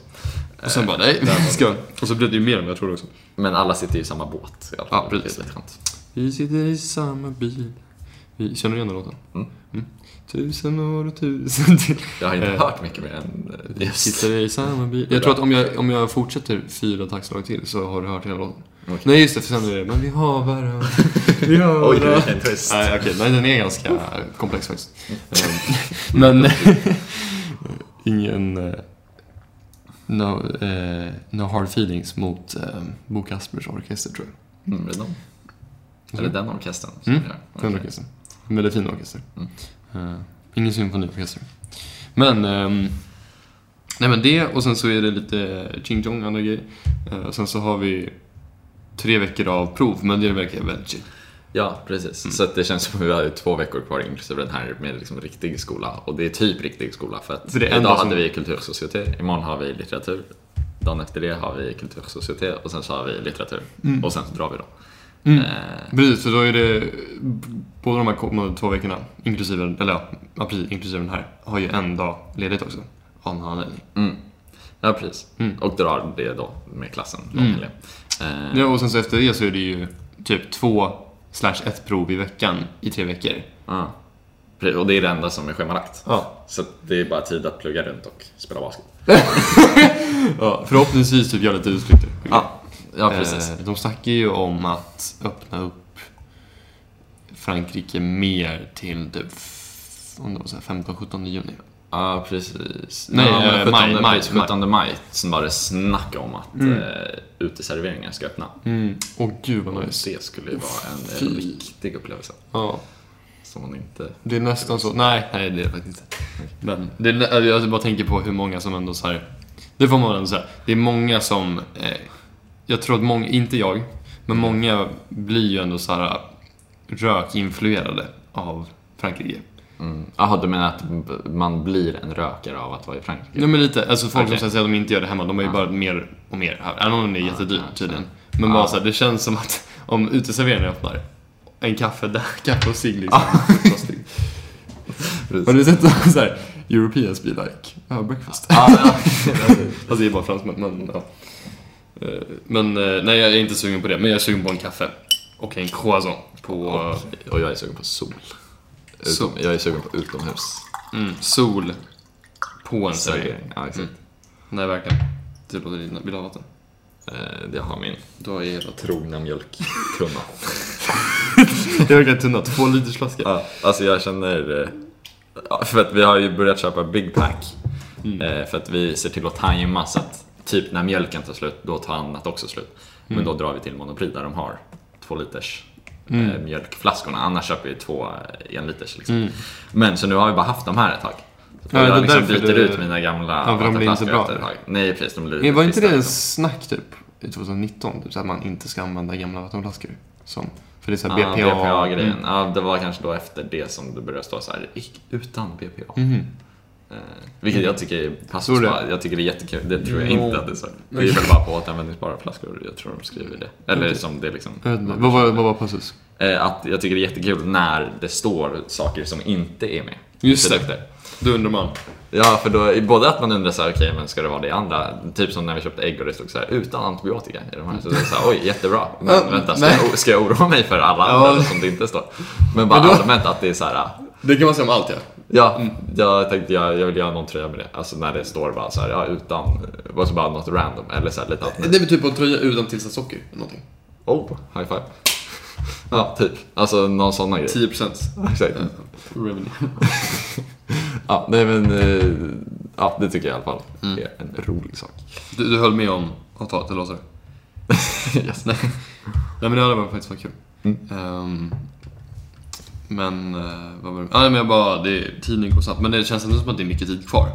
Och sen bara, nej, [laughs] vi ska... Och så blev Eh, det ju mer än vad jag trodde också. Men alla sitter ju i samma båt i alla fall. Ja, precis. Det är lite skönt. Vi sitter i samma bil. Vi, känner du igen den låten? Mm. Tusen år och tusen [laughs] till. Jag har inte Eh, hört mycket mer än eh, Vi just... sitter i samma bil. Jag tror att om jag, om jag fortsätter fyra taktslag till så har du hört hela låten. Okej. Nej, just det, för sen är det Men vi har [laughs] varandra. Vi har Oj, varandra. vilken twist. Nej, okej. Nej, den är ganska komplex faktiskt. Mm, Eh, Men... [laughs] Ingen... eh, No, eh, no hard feelings mot eh, Bo Kaspers orkester, tror jag. Mm, är det de? Är det den orkestern? som Mm, gör? Den Okej. orkestern. En väldigt fin orkester. Eh, ingen symfoniorkester. Men... ehm, nej men det och sen så är det lite ching chong andra grejer. Eh, sen så har vi tre veckor av prov, men det verkar väldigt chill. Ja, precis. Mm. Så att det känns som att vi har två veckor kvar inklusive den här med liksom riktig skola. Och det är typ riktig skola för att För det är en idag dag som- hade vi kultursocietet, imorgon har vi litteratur. Dagen efter det har vi kultursocietet och sen så har vi litteratur. Och sen så drar vi då. Mm. Eh, Precis, för då är det båda de här kommande två veckorna, inklusive, eller ja, april, inklusive den här, har ju en dag ledigt också. Av någon anledning. ja, precis. Mm. Och drar det då med klassen. Mm. Eh, Ja, och sen så efter det så är det ju typ två slash ett prov i veckan i tre veckor. ja. ah. Pre- Och det är det enda som är schemalagt. Ja. Så det är bara tid att plugga runt och spela basket. ja förhoppningsvis typ gör lite utflykter. ja precis. Eh, De snackar ju om att öppna upp Frankrike mer till typ f- om det var så här 15-17 juni. Ja, precis. Nej, ja, men eh, maj, 17 maj, Mm. 17 maj som var det snack om att eh, uteserveringar ska öppna. Åh gud vad nice. Det skulle ju vara en Mm. Fy. riktig upplevelse. Ja, Som man inte... det är nästan så. Nej, nej det är det faktiskt inte. Men det är, nä- alltså, jag bara tänker på hur många som ändå så här. Det får man ändå säga. Det är många som, eh, jag tror att många, inte jag, men många blir ju ändå så här rökinfluerade av Frankrike. mm. Jaha, du menar att b- man blir en rökare av att vara i Frankrike? Nej men lite, alltså folk Okej. som säger att de inte gör det hemma, de har ju Ja. bara mer och mer här. Även om det är jättedyrt ja, tydligen. ja. Men Ja. bara så här, det känns som att om uteserveringen öppnar, en kaffe där, [laughs] kaffe och cigg liksom. Har Precis. du sett så här, Europeans be like, oh, breakfast? Ja, [laughs] ja. Fast det är bara fransmän, men ja. Eh, Men eh, nej, jag är inte sugen på det, men jag är sugen på en kaffe. Och en croissant på eh, Och jag är sugen på sol. Utom, Sol. jag är sugen på utomhus. mm, sol på en servering. Ja, exakt. Nej, verkligen. Det låter lite... Vill du ha vatten? Eh, jag har min Då är hela... trogna mjölktunna. Det verkar tunna, två liters flaska. [laughs] Ja, alltså jag känner... eh, ja, För att vi har ju börjat köpa Big Pack. Mm. Eh, För att vi ser till att tajma så att typ när mjölken tar slut, då tar annat också slut. Mm. Men då drar vi till Monoprix där de har två liters eh, Mm. mjölkflaskorna. Annars köper vi två eh, en liters liksom. Men så nu har vi bara haft de här ett tag. Så Ja, det är jag liksom därför byter du- ut mina gamla Ja, för de blir inte vattenflaskor bra. efter ett tag. Nej precis, de blir Men var inte det trista, en liksom. snack typ i 2019? Typ, så att man inte ska använda gamla vattenflaskor? Som, för det är såhär Ja, BPA. BPA-grejen. Mm. Ja, det var kanske då efter det som det började stå så här "Ick, utan BPA. Mhm. Eh, vilket jag tycker är passar Tror du? bra. Jag tycker det är jättekul. Det tror jag Mm. inte att det är så. Det är väl bara på återanvändningsbara flaskor. Jag tror de skriver det. Eller Okej. som det är liksom. Jag vet inte. Vad var, vad var passus? Eh, att jag tycker det är jättekul när det står saker som inte är med. i Just det. produkter. Då undrar man. Ja, för då, både att man undrar så här, okej, men ska det vara det andra? Typ som när vi köpte ägg och det stod så här, utan antibiotika i de här. Så det är så här, oj, jättebra. Men Ja, vänta, ska nej. jag, ska jag oroa mig för alla Ja. andra som det inte står? Men bara Men då- Mm. allmänt att det är så här, Det kan man säga om allt ja. Ja, jag tänkte jag, jag vill göra någon tröja med det. Alltså när det står bara så här, ja utan, var så bara något random eller så här [laughs] lite alternativ. Det är typ på en tröja utan tillsatt socker. eller Någonting. Oh, high five. Ja, typ. Alltså någon sån grej. 10% Exakt. revenue. Ja, nej men, eh, ja det tycker jag i alla fall Mm. är en rolig sak. Du, du höll med om att ta till låsare? [laughs] yes. Mm. Nej. Nej men det hade varit faktiskt varit kul. Ehm, men eh, vad var det? Ah, nej, men jag bara, det, tiden går snabbt. Men det känns ändå som att det är mycket tid kvar.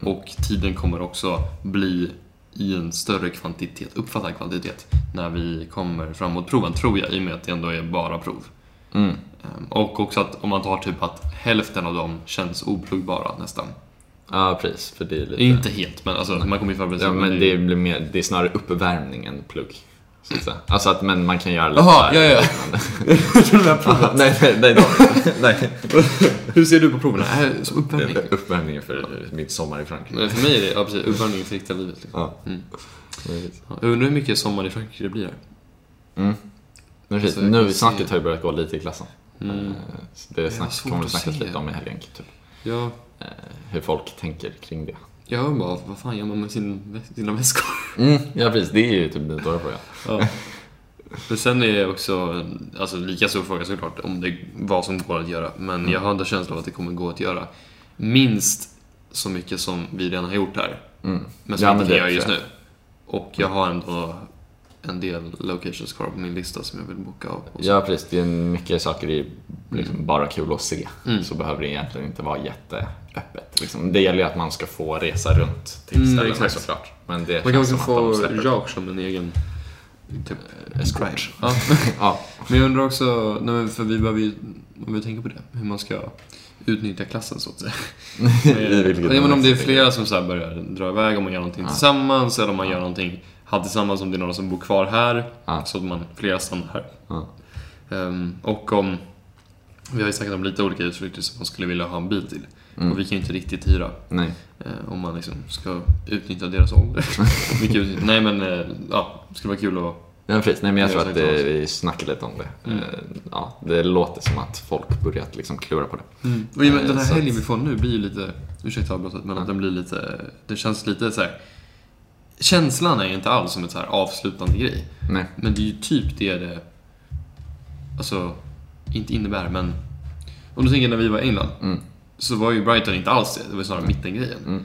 Mm. Och tiden kommer också bli i en större kvantitet, uppfattad kvantitet, när vi kommer framåt proven, tror jag, i och med att det ändå är bara prov. Mm. Ehm, och också att om man tar typ att hälften av dem känns oplugbara nästan. Ja, precis. För det är lite... Inte helt, men alltså, man kommer ju förbereda sig. Ja, men men det blir mer, det är snarare uppvärmning än plugg. Så att säga. Alltså att, men man kan göra lite Jaha, så ja, här- ja. De där proven. Aha, [laughs] nej, nej, nej, [laughs] nej. nej. Hur ser du på proverna? Äh, som Det uppvärmning? är Uppvärmningen för mitt sommar i Frankrike. Nej, För mig är det ja, precis, uppvärmning till riktiga livet. Liksom. Ja. Mm. Ja, Jag undrar hur mycket sommar i Frankrike det blir här. Men precis, Så jag nu kan snacket se- har ju börjat gå lite i klassen. Eh, så Det har snack, svårt kommer det att snackas se. lite om i helgen, typ. Jag, Hur folk tänker kring det. jag undrar bara, vad fan gör man med sin, sina väskor? Mm, ja precis, det är ju typ den stora frågan. Ja. [laughs] Men sen är det också, alltså lika stor fråga såklart, om det, vad som går att göra. Men jag har ändå känslan av att det kommer gå att göra minst så mycket som vi redan har gjort här. Mm. Men som Ja, vi inte men kan det göra just tror nu. Och jag har ändå en del locations kvar på min lista som jag vill boka av. och så. Ja precis, det är mycket saker det är Mm. liksom bara kul att se. Så behöver det egentligen inte vara jätteöppet. Liksom. Det gäller ju att man ska få resa runt till Mm, ställena exakt. såklart. Men det Man känns kanske kan som att de få släpper- Eh, Jaak som en egen typ, escort. Ja. Ja. [laughs] Men jag undrar också, nej men för vi behöver ju, om vi tänker på det, hur man ska utnyttja klassen så att [laughs] säga. I vilket Nej, men om moment det är som flera som så här börjar dra iväg, om man gör någonting tillsammans eller om man gör någonting här tillsammans, om det är några som bor kvar här, Ja. så att man flera stannar här. Ja. Ehm, och om, vi har ju snackat om lite olika utflykter som man skulle vilja ha en bil till. Mm. Och vi kan ju inte riktigt hyra Nej. Eh, om man liksom ska utnyttja deras [laughs] ålder. Mycket utnyttja. Nej men, eh, ja, det skulle vara kul att... Ja, precis. Nej, men jag Det tror är att så det, klart. vi snackade lite om det. Mm. Eh, Ja, det låter som att folk börjat liksom klura på det. Mm. Och i och med, den Eh, här så att- helgen vi får nu blir ju lite, ursäkta avbrottet, men att den blir lite, det känns lite så här. Känslan är ju inte alls som ett så här avslutande grej. Nej. Men det är ju typ det det, alltså, inte innebär, men om du tänker när vi var i England, Mm. så var ju Brighton inte alls det, det var ju snarare mittengrejen. Mm.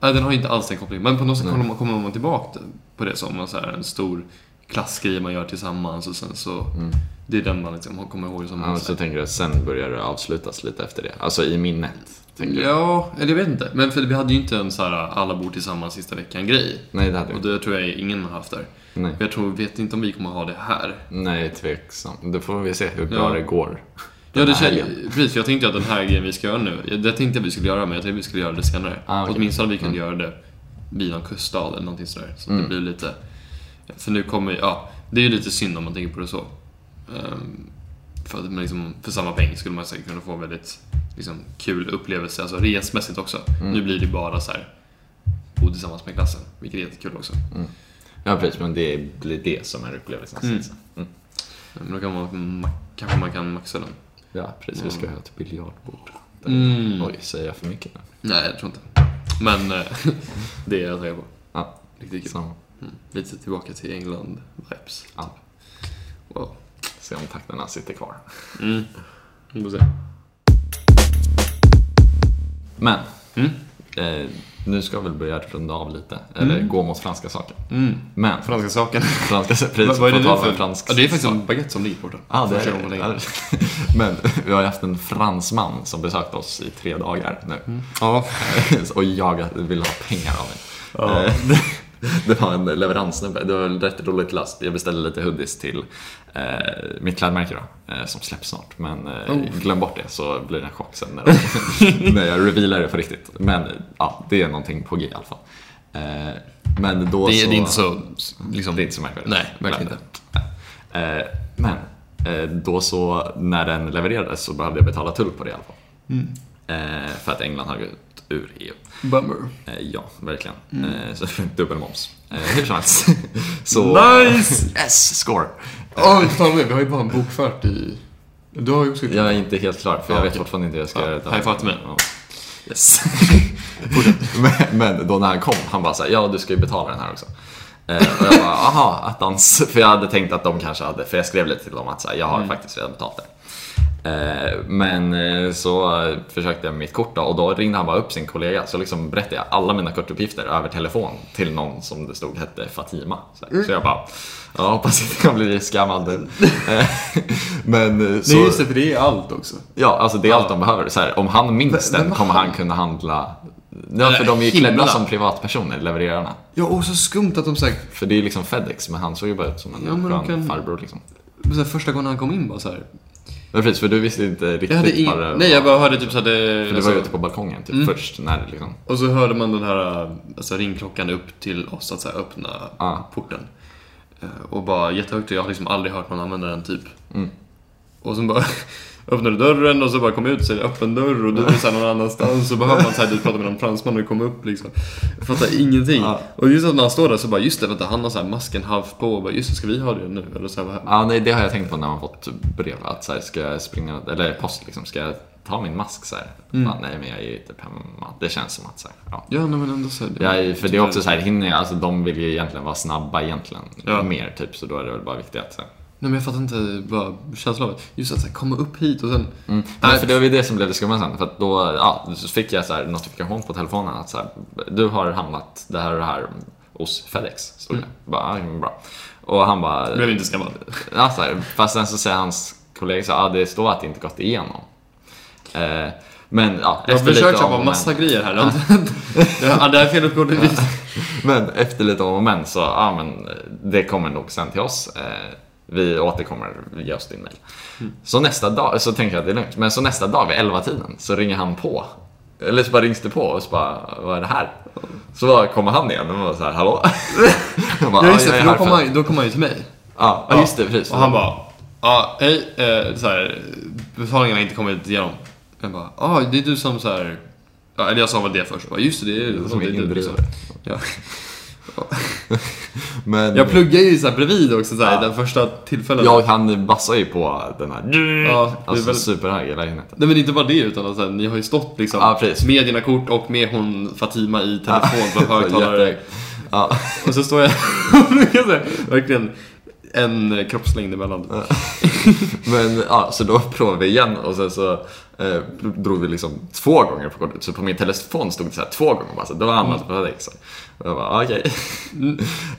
Nej, den har ju inte alls den kopplingen, men på något sätt Nej. kommer man, kommer man tillbaka på det som en, så här, en stor klassgrej man gör tillsammans och sen så, Mm. det är den man liksom kommer ihåg som Ja, en men så så här- tänker jag att sen börjar det avslutas lite efter det. Alltså i minnet. Tänker jag. Ja, eller jag vet inte. Men för vi hade ju inte en så här alla bor tillsammans sista veckan-grej. Nej, det hade jag Och inte. det tror jag ingen har haft där. Nej. Jag tror, vet inte om vi kommer ha det här. Nej, tveksam. Då får vi se hur bra Ja. det går. Ja, det Den här känner, helgen. precis, för jag tänkte att den här grejen vi ska göra nu, jag- det tänkte jag vi skulle göra, men jag tänkte vi skulle göra det senare. Ah, okej. Åtminstone vi kunde göra det vid någon kuststad eller någonting sådär. Så det Mm. blir lite... För nu kommer ju- ja, det är ju lite synd om man tänker på det så. Ehm, för, att man liksom, för samma peng skulle man säkert kunna få en väldigt liksom, kul upplevelse, alltså resmässigt också. Mm. Nu blir det bara så här bo tillsammans med klassen, vilket är jättekul också. Ja, precis. Men det blir det som är upplevelsen. Mm. så att säga. Mm. Men då kan man, kanske man kan maxa den. Ja, precis. Vi ska ha ett biljardbord. Mm. Oj, säger jag för mycket nu? Nej, jag tror inte. Men eh, [laughs] det är jag taggad på. Ja, Riktigt kul. samma. Lite tillbaka till England-vibes. Ja. Wow. Se om takterna sitter kvar. Mm. Vi får se. Men, Mm. eh, nu ska vi väl börja runda av lite. Eller gå mot franska saker. Mm. Men, Franska saken. franska precis. Vad vad är det på nu tal om för? fransk ja, det är faktiskt sak. en baguette som ligger borta. Ja, det Första är gången på det. länge. Ja, det- Men [laughs] vi har ju haft en fransman som besökt oss i tre dagar nu. Mm. [laughs] Ja. Och jag vill ha pengar av mig. Eh, [laughs] det- Det var en leveranssnubbe, det var en rätt roligt last. Jag beställde lite hoodies till eh, mitt klädmärke då, eh, som släpps snart. Men eh, Oh. glöm bort det så blir det en chock sen [laughs] när, när jag revealar det på riktigt. Men eh, ja, det är någonting på G i alla fall. Eh, men då Det, är, så... det är inte så... Liksom, Det är inte så märkvärdigt. Nej, verkligen Men, eh, Men eh, då så, när den levererades så behövde jag betala tull på det i alla fall. Mm. Eh, För att England hade gått ur EU. Bummer. Eh, Ja, verkligen. Mm. Eh, Så [laughs] dubbelmoms. Eh, Hur [laughs] som helst. Så... Nice! [laughs] Yes, score! Åh, vi tar med. Vi har ju bara en bokfört i... Du har ju också... Jag är inte helt klar, för jag Ja, vet okej. fortfarande inte hur jag ska Ja, göra det. high five till mig. Ja. [laughs] Yes. [laughs] men, men då när han kom, han bara såhär, ja du ska ju betala den här också. Eh, och jag bara, aha, attans. [laughs] För jag hade tänkt att de kanske hade, för jag skrev lite till dem att så här, jag har Mm. faktiskt redan betalt det. Eh, Men eh, så eh, försökte jag med mitt kort då, och då ringde han bara upp sin kollega så liksom berättade jag alla mina kortuppgifter över telefon till någon som det stod hette Fatima. Så, här. Mm. så jag bara, jag hoppas inte jag blir [laughs] skammad. Eh, Men eh, så... Nej, just det, för det är allt också. Ja, alltså det är allt de behöver. Så här, om han minns Men- den men kommer han- Äh, han kunna handla... Ja, för de är ju Himla. klädda som privatpersoner, levererarna. Ja, och så skumt att de så här, För det är ju liksom Fedex, men han såg ju bara ut som en Ja, men de skön kan- farbror liksom. så här, första gången han kom in bara så här. Men precis, för du visste ju inte riktigt Jag hade vad det ingen... Nej, jag Mm. bara hörde typ så här, För du var ju ute på balkongen typ först, när det liksom... Ah. Och så hörde man den här alltså, ringklockan upp till oss att så här, öppna Ja. porten. eh, och bara jättehögt och jag har liksom aldrig hört någon använda den typ. Mm. Och sen bara [laughs] öppnade dörren och så bara kom ut så är det öppen dörr och du är såhär någon annanstans så behöver man såhär dit prata med någon fransman och kom upp liksom. Jag fattar ingenting. Ja. Och just att man står där så bara just det, vänta han har såhär masken halvt på och bara just det, ska vi ha det nu? Eller så här, vad- Ja, nej, det har jag tänkt på när man fått brev. Att så här, ska jag springa, eller post liksom, ska jag ta min mask så här? Mm. Fan, nej, men jag är ju typ hemma. Det känns som att så här, ja. Ja, nej, men ändå så här, det- Jag är, för det är också så här, hinner jag, alltså de vill ju egentligen vara snabba egentligen. Ja. Mer typ, så då är det väl bara viktigt att så här. Nej men jag fattar inte bara känslan av det. Just att så här, komma upp hit och sen... Mm. Nej, för det var ju det som blev det skumma sen. För att då ja, så fick jag så här notifikation på telefonen att så här, du har hamnat det här och det här hos Fedex. Stod Mm. det. Bara, ja, men bra. Och han bara... Blev inte skammad. Ja, så här, fast sen så säger hans kollega så här, ah, det står att det inte gått igenom. Eh, men ja, Jag har efter lite försökt om köpa och massa men- grejer här. Ja, [laughs] det här felet går det vis. Men efter lite om och men så, ja men eh, det kommer nog sen till oss. Eh, Vi återkommer, ge oss din mail. Mm. Så nästa dag, så tänker jag att det är lugnt, men så nästa dag vid 11-tiden så ringer han på. Eller så bara rings det på och så bara, vad är det här? Så bara kommer han igen och bara så här, hallå? [laughs] Jag bara, Ja just det, jag är för då här kommer han, då kom han ju till mig. Ja, ja, just det, precis. Och han bara, ja hej, eh, så här, betalningen har inte kommit igenom. Jag bara, ja ah, det är du som så här... Ja, eller jag sa väl det först. Jag bara, just det, det är, Det är det är du. liksom. Ja. [laughs] Men Jag pluggar ju så här bredvid också så här, Ja. den första tillfället. jag, han bassar ju på den här, Ja, det är alltså väldigt- superhög i lägenheten. Nej men inte bara det utan att så här, ni har ju stått liksom Ja, precis. med dina kort och med hon Fatima i [laughs] telefon på högtalare. Jättehög. Ja. Och så står jag [laughs] och brukar så här, verkligen en kroppslängd emellan. Men ja, så då [laughs] provade vi igen och sen så eh, drog vi liksom två gånger på kortet. Så på min telefon stod det så här två gånger bara, så det var annat Mm. på det liksom. Och jag bara, okej. [laughs]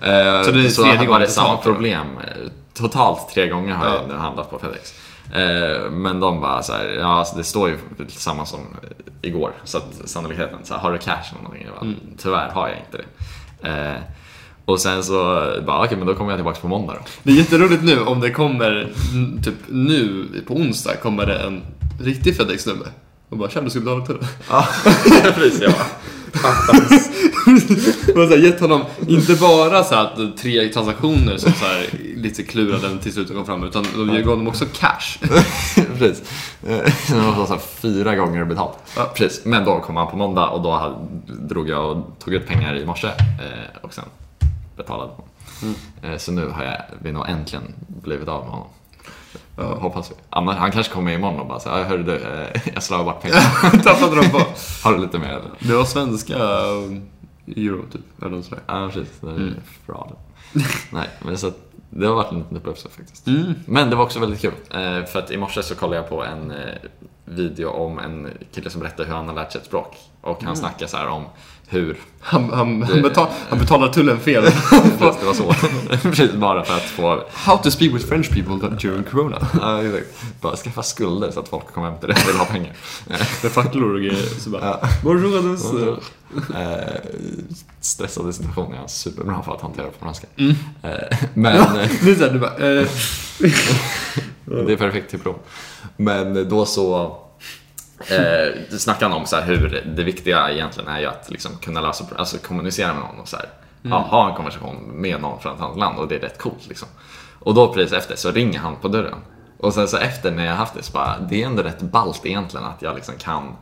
Eh, Så det är så tredje här var gången det totalt samma då? problem. Eh, Totalt tre gånger har Ja. jag nu handlat på FedEx. Eh, Men de bara så här, ja alltså det står ju samma som eh, igår. Så att sannolikheten, så här, har du cash eller någonting? Jag bara, Mm. Tyvärr har jag inte det. Eh, Och sen så bara, okej men då kommer jag tillbaka på [laughs] måndag då. Det är jätteroligt nu om det kommer, mm, typ nu på onsdag kommer det en riktig FedEx-snubbe. Och bara “tja, du ska betala till det?” Ja, precis. Jag bara, [laughs] Man har så här gett honom, inte bara så här att tre transaktioner som så här lite klurade den till slut och kom fram, utan de gav honom också cash. [laughs] [laughs] Precis. Eh, [laughs] Det var så här fyra gånger betalt. Ja. Precis. Men då kom han på måndag och då hade- drog jag och tog ut pengar i morse eh, och sen betalade honom. Mm. Eh, Så nu har jag, vi nog äntligen blivit av med honom. Eh, Hoppas vi. Annars, han kanske kommer imorgon och bara säger hörru du, eh, [laughs] jag slarvade bort [laughs] pengar. Tappade de på. [laughs] Har du lite mer eller? Det var svenska eh, euro typ, eller något sådär. Ja precis, det är Mm. fraud. Nej, men så att, det har varit en liten upplevelse faktiskt. Mm. Men det var också väldigt kul. eh, För att i morse så kollade jag på en eh, video om en kille som berättar hur han har lärt sig ett språk. Och han snackar så här om hur... Han, han, han, betal, han betalar tullen fel. Precis, det var så. Precis, bara för att få... How to speak with French people during corona. Ja, exakt. Bara skaffa skulder så att folk kommer hem till dig och vill ha pengar. [laughs] Med facklor och grejer. Så bara, Bonjour à tous. Eh, stressade situationer är han superbra för att hantera på franska. Eh, Men... [laughs] Det är såhär, du bara, eh, Det är perfekt till prov. Men då så eh, snackade han om så här hur det viktiga egentligen är ju att liksom kunna lösa, alltså kommunicera med någon och så här, ja, ha en konversation med någon från ett annat land och det är rätt coolt. Liksom. Och då precis efter så ringer han på dörren. Och sen så efter när jag haft det så bara, det är ändå rätt ballt egentligen att jag liksom kan,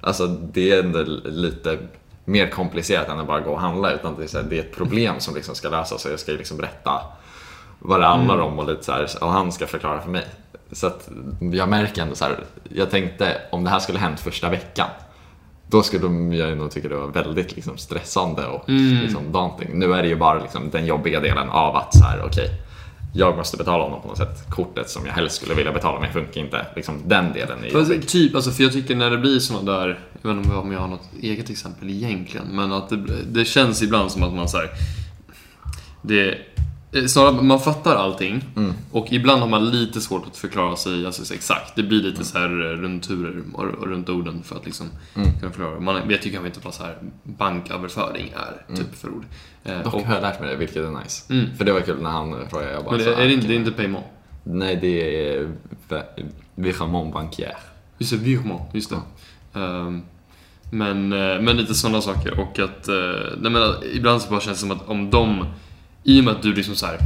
alltså det är ändå lite mer komplicerat än att bara gå och handla utan det är, så här, det är ett problem som liksom ska lösas så jag ska ju liksom berätta vad det handlar om och lite så här, och han ska förklara för mig. Så att jag märker ändå så här, jag tänkte om det här skulle hänt första veckan, då skulle de, jag ju nog tycka det var väldigt liksom, stressande och liksom, daunting. Nu är det ju bara liksom, den jobbiga delen av att så här, okej, jag måste betala honom på något sätt. Kortet som jag helst skulle vilja betala med funkar inte. Liksom, den delen är Fast jobbig. typ, alltså, för jag tycker när det blir såna där, jag vet inte om jag har något eget exempel egentligen, men att det, det känns ibland som att man säger det eh, Snarare, man fattar allting och ibland har man lite svårt att förklara sig alltså, så exakt. Det blir lite så här eh, rundturer och, och runt orden för att liksom kunna förklara. Man vet ju kanske inte vad så här banköverföring är, typ för ord. Eh, Dock och, har jag lärt mig det, vilket är nice. Mm. För det var kul när han frågade. Jag bara, men så det, här, är det, inte, det är inte Paymon? Nej, det är vi- Virement Banquier. Just det, virement. Just det. Ehm, men, eh, men lite sådana eh, saker. Och att, eh, nej men, att ibland så bara känns det som att om de, i och med att du liksom så här,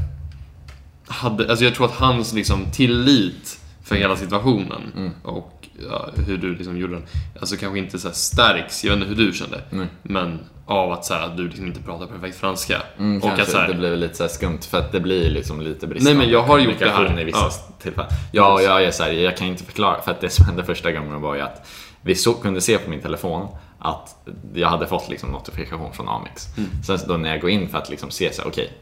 hade, alltså jag tror att hans liksom tillit för hela situationen Mm. och ja, hur du liksom gjorde den, alltså kanske inte så här stärks, jag vet inte hur du kände, men av att, så här, att du liksom inte pratar perfekt franska. Mm, och kanske att, så här, det blir lite så här skumt för att det blir liksom lite Nej, bristande men jag har gjort det här. kommunikation i vissa Ja. tillfällen. Ja, jag är så här, jag kan inte förklara för att det som hände första gången var ju att vi så, kunde se på min telefon att jag hade fått liksom notifikation från Amex. Mm. Sen så då när jag går in för att liksom se så här, okej,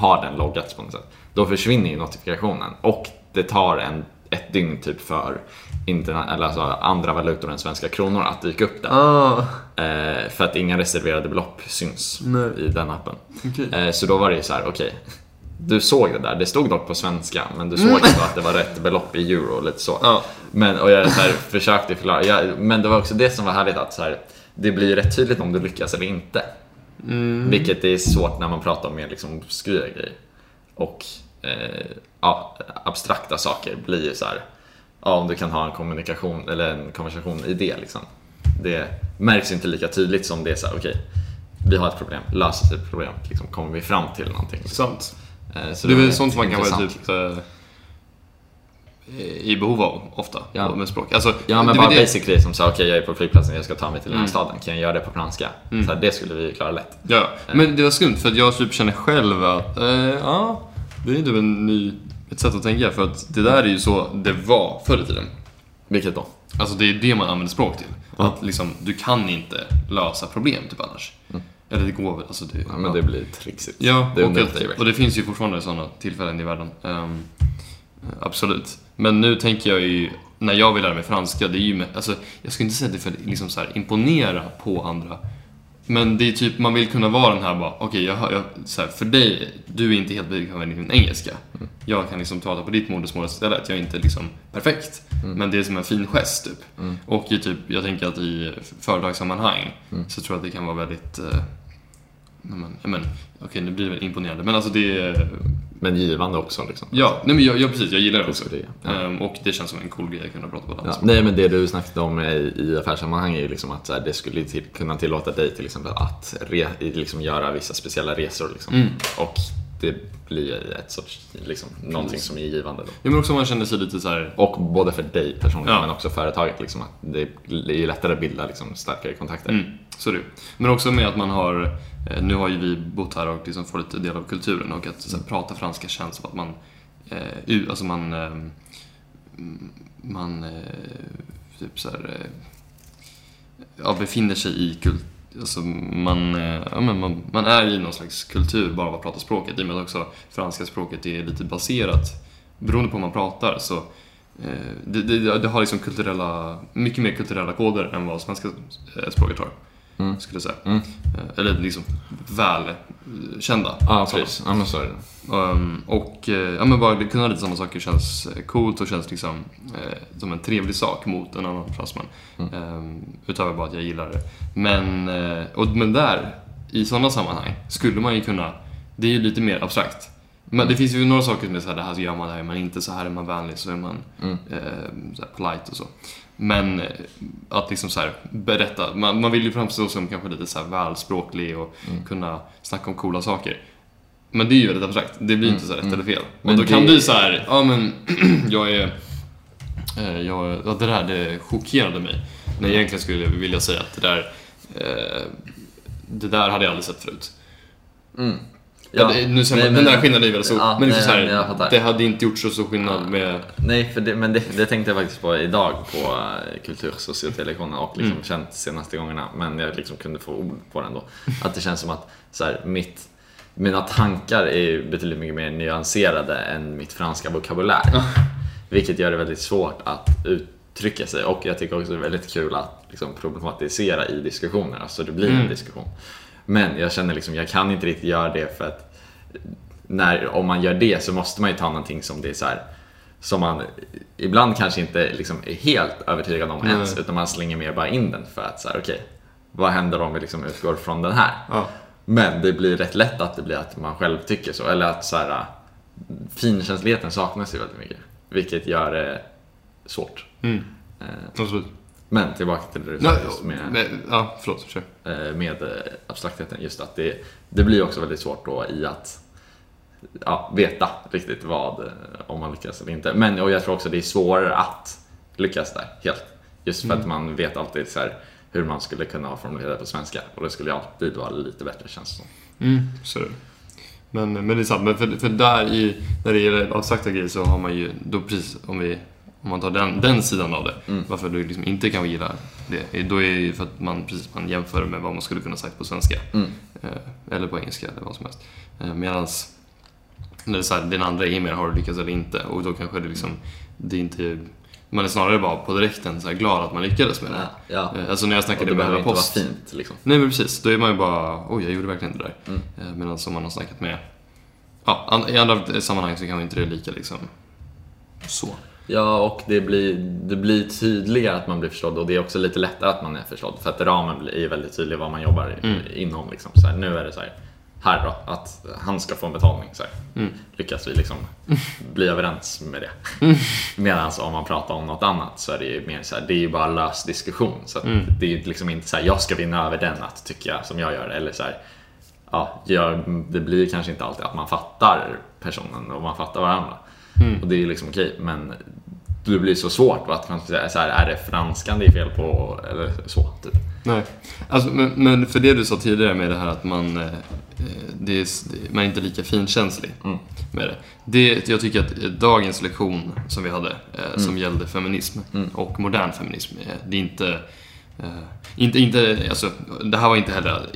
har den loggats på något sätt? Då försvinner ju notifikationen och det tar en, ett dygn typ för interna- eller alltså andra valutor än svenska kronor att dyka upp där. Ah, Eh, för att inga reserverade belopp syns Nej. i den appen. Okej. Eh, så då var det ju så här, okej. du såg det där, det stod dock på svenska, men du såg ändå att det var rätt belopp i euro och lite så. Ja. Men, och jag så här, försökte förklara, jag, men det var också det som var härligt att så här, det blir rätt tydligt om du lyckas eller inte. Mm, Vilket är svårt när man pratar om mer liksom obskyra grejer. Och eh, ja, abstrakta saker blir ju så här, ja, om du kan ha en kommunikation eller en konversation i det liksom. Det märks inte lika tydligt som det är så här, okej, vi har ett problem, löser sig ett problem, liksom, kommer vi fram till någonting? Liksom. sant. Eh, så Det är var väl sånt man kan vara intressant. typ eh, i behov av ofta, Ja. med språk. Alltså, Ja det men är bara väl det- Mm. basic grejer som så här, okej jag är på flygplatsen, jag ska ta mig till den här staden, kan jag göra det på franska? Så här, det skulle vi ju klara lätt. Ja, men det var skumt för att jag typ känner själv att, eh, ja, det är ju typ en ny, ett sätt att tänka för att det där är ju så det var förr i tiden. Vilket då? Alltså det är det man använder språk till. Att liksom, du kan inte lösa problem typ annars. Eller det går väl, alltså det... Mm. Ja, men det blir trixigt. Ja, det är och, under att, dig, och det finns ju fortfarande sådana tillfällen i världen. Ehm, absolut. Men nu tänker jag ju, när jag vill lära mig franska, det är ju med, alltså, jag skulle inte säga det för att liksom så här, imponera på andra. Men det är typ, man vill kunna vara den här bara, okej, jag, hör- jag, så här, för dig, du är inte helt bekväm med din liksom engelska. Mm. Jag kan liksom prata på ditt modersmål istället, jag är inte liksom perfekt. Mm. Men det är som en fin gest typ. Och i typ, jag tänker att i företagssammanhang Mm. så tror jag att det kan vara väldigt eh, Nej, men, ja, men, okej, nu blir det väl imponerande. Men alltså det är... Men givande också liksom. Ja, nej, men jag, jag, precis, jag gillar det också. Det är det, ja. Ehm, och det känns som en cool grej att kunna prata på ett Ja, annat språk. nej men det du snackade om i, i affärssammanhang är ju liksom att så här, det skulle ju till, kunna tillåta dig till exempel att re, i- liksom göra vissa speciella resor liksom. Mm. Och det blir ju ett sorts, liksom, någonting som är givande då. Ja, men också man känner sig lite så här... Och både för dig personligen Ja. men också företaget liksom, att det är ju lättare att bilda liksom, starkare kontakter. Mm, så är det ju. Men också med att man har... eh, Nu har ju vi bott här och liksom får lite del av kulturen och att så här, prata franska känns som att man... Eh, u- alltså man... ehm, mm, man... Eh, typ så här... Eh, ja, befinner sig i kult... Alltså man, eh, ja, men man, man är i någon slags kultur bara av att prata språket i och med att också franska språket är lite baserat beroende på hur man pratar så eh, det, det, det har liksom kulturella, mycket mer kulturella koder än vad svenska eh, språket har. Mm. Skulle jag säga. Mm. Eh, Eller liksom välkända. Ja, precis. Ja, men så är det. Ehm, och eh, ja, men bara kunna lite sådana saker känns eh, coolt och känns liksom eh, som en trevlig sak mot en annan fransman. Ehm, utöver bara att jag gillar det. Men, eh, och, men där, i sådana sammanhang, skulle man ju kunna, det är ju lite mer abstrakt. Men det finns ju några saker som är såhär, det här gör man, det här gör man inte, så här är man vänlig, så är man Mm. eh, så här polite och så. Men eh, att liksom så här berätta, man, man vill ju framstå som kanske lite så här välspråklig och Mm. kunna snacka om coola saker. Men det är ju väldigt abstrakt, det blir inte så här rätt eller fel. Mm. Men och då kan det- du så här, ja men [clears throat] jag är, eh, jag, ja, det där det chockerade mig. När jag egentligen skulle jag vilja säga att det där, eh, det där hade jag aldrig sett förut. Ja, det, nu säger man, Nej, den men- där skillnaden är väldigt stor. Ja, men det, är nej, så här, men jag fattar. det hade inte gjort så stor skillnad med... Nej, för det, men det, det tänkte jag faktiskt på idag på eh, kultursociotelektionen och liksom känt senaste gångerna. Men jag liksom kunde få ord på den då. Att det känns som att så här, mitt, mina tankar är ju betydligt mycket mer nyanserade än mitt franska vokabulär. Vilket gör det väldigt svårt att uttrycka sig och jag tycker också det är väldigt kul att liksom, problematisera i diskussioner. Alltså det blir en diskussion. Men jag känner liksom, jag kan inte riktigt göra det för att när, om man gör det så måste man ju ta någonting som det är så här som man ibland kanske inte liksom är helt övertygad om ens utan man slänger mer bara in den för att så här okej vad händer om vi liksom utgår från den här? Ja. Men det blir rätt lätt att det blir att man själv tycker så eller att så här äh, finkänsligheten saknas ju väldigt mycket vilket gör det svårt. mm. Eh, Absolut. Men tillbaka till det du Ja, sa just med men- ja, förlåt. Kör. eh, med eh, abstraktheten. Just att det, det blir också väldigt svårt då i att ja, veta riktigt vad, eh, om man lyckas eller inte. Men och jag tror också det är svårare att lyckas där helt. Just för att man vet alltid så här, hur man skulle kunna ha formulerat det på svenska. Och det skulle ju alltid vara lite bättre känns det som. Mm, så är det. Men, men det är sant, men för, för där i, när det gäller avsagda grejer så har man ju, då precis om vi om man tar den, den sidan av det, Mm. varför du liksom inte kanske gillar det, då är det ju för att man, precis, man jämför med vad man skulle kunna sagt på svenska. Mm. Eh, eller på engelska eller vad som helst. Eh, medans när det är så här, den andra är mer har du lyckats eller inte och då kanske det liksom, det är inte, man är snarare bara på direkten så här glad att man lyckades med det. Ja. Eh, Alltså när jag Och snackade det med behöver Hela inte vara Post fint liksom. Nej men precis, då är man ju bara, oj jag gjorde verkligen inte det där. Mm. Medan om man har snackat med, ja an- i andra sammanhang så kanske inte det är lika liksom så. Ja, och det blir, det blir tydligare att man blir förstådd och det är också lite lättare att man är förstådd för att ramen blir- är ju väldigt tydlig vad man jobbar i- inom. Liksom. Så här, nu är det så här, här då, att han ska få en betalning. Så här. Lyckas vi liksom bli överens med det. Medan om man pratar om något annat så är det ju mer så här, det är ju bara lös diskussion. Så att det är ju liksom inte så här, jag ska vinna över den att tycka som jag gör. Eller så här, ja, gör, det blir kanske inte alltid att man fattar personen och man fattar varandra. Och det är ju liksom okej, men det blir så svårt va, att man säga så här, är det franskan det är fel på eller så. Typ. Nej. Alltså, men, men för det du sa tidigare med det här att man, eh, det är, s- det- man är inte lika finkänslig med det. det. Jag tycker att eh, dagens lektion som vi hade, eh, som gällde feminism och modern feminism, eh, det är inte eh, inte, inte, alltså, det här var inte heller...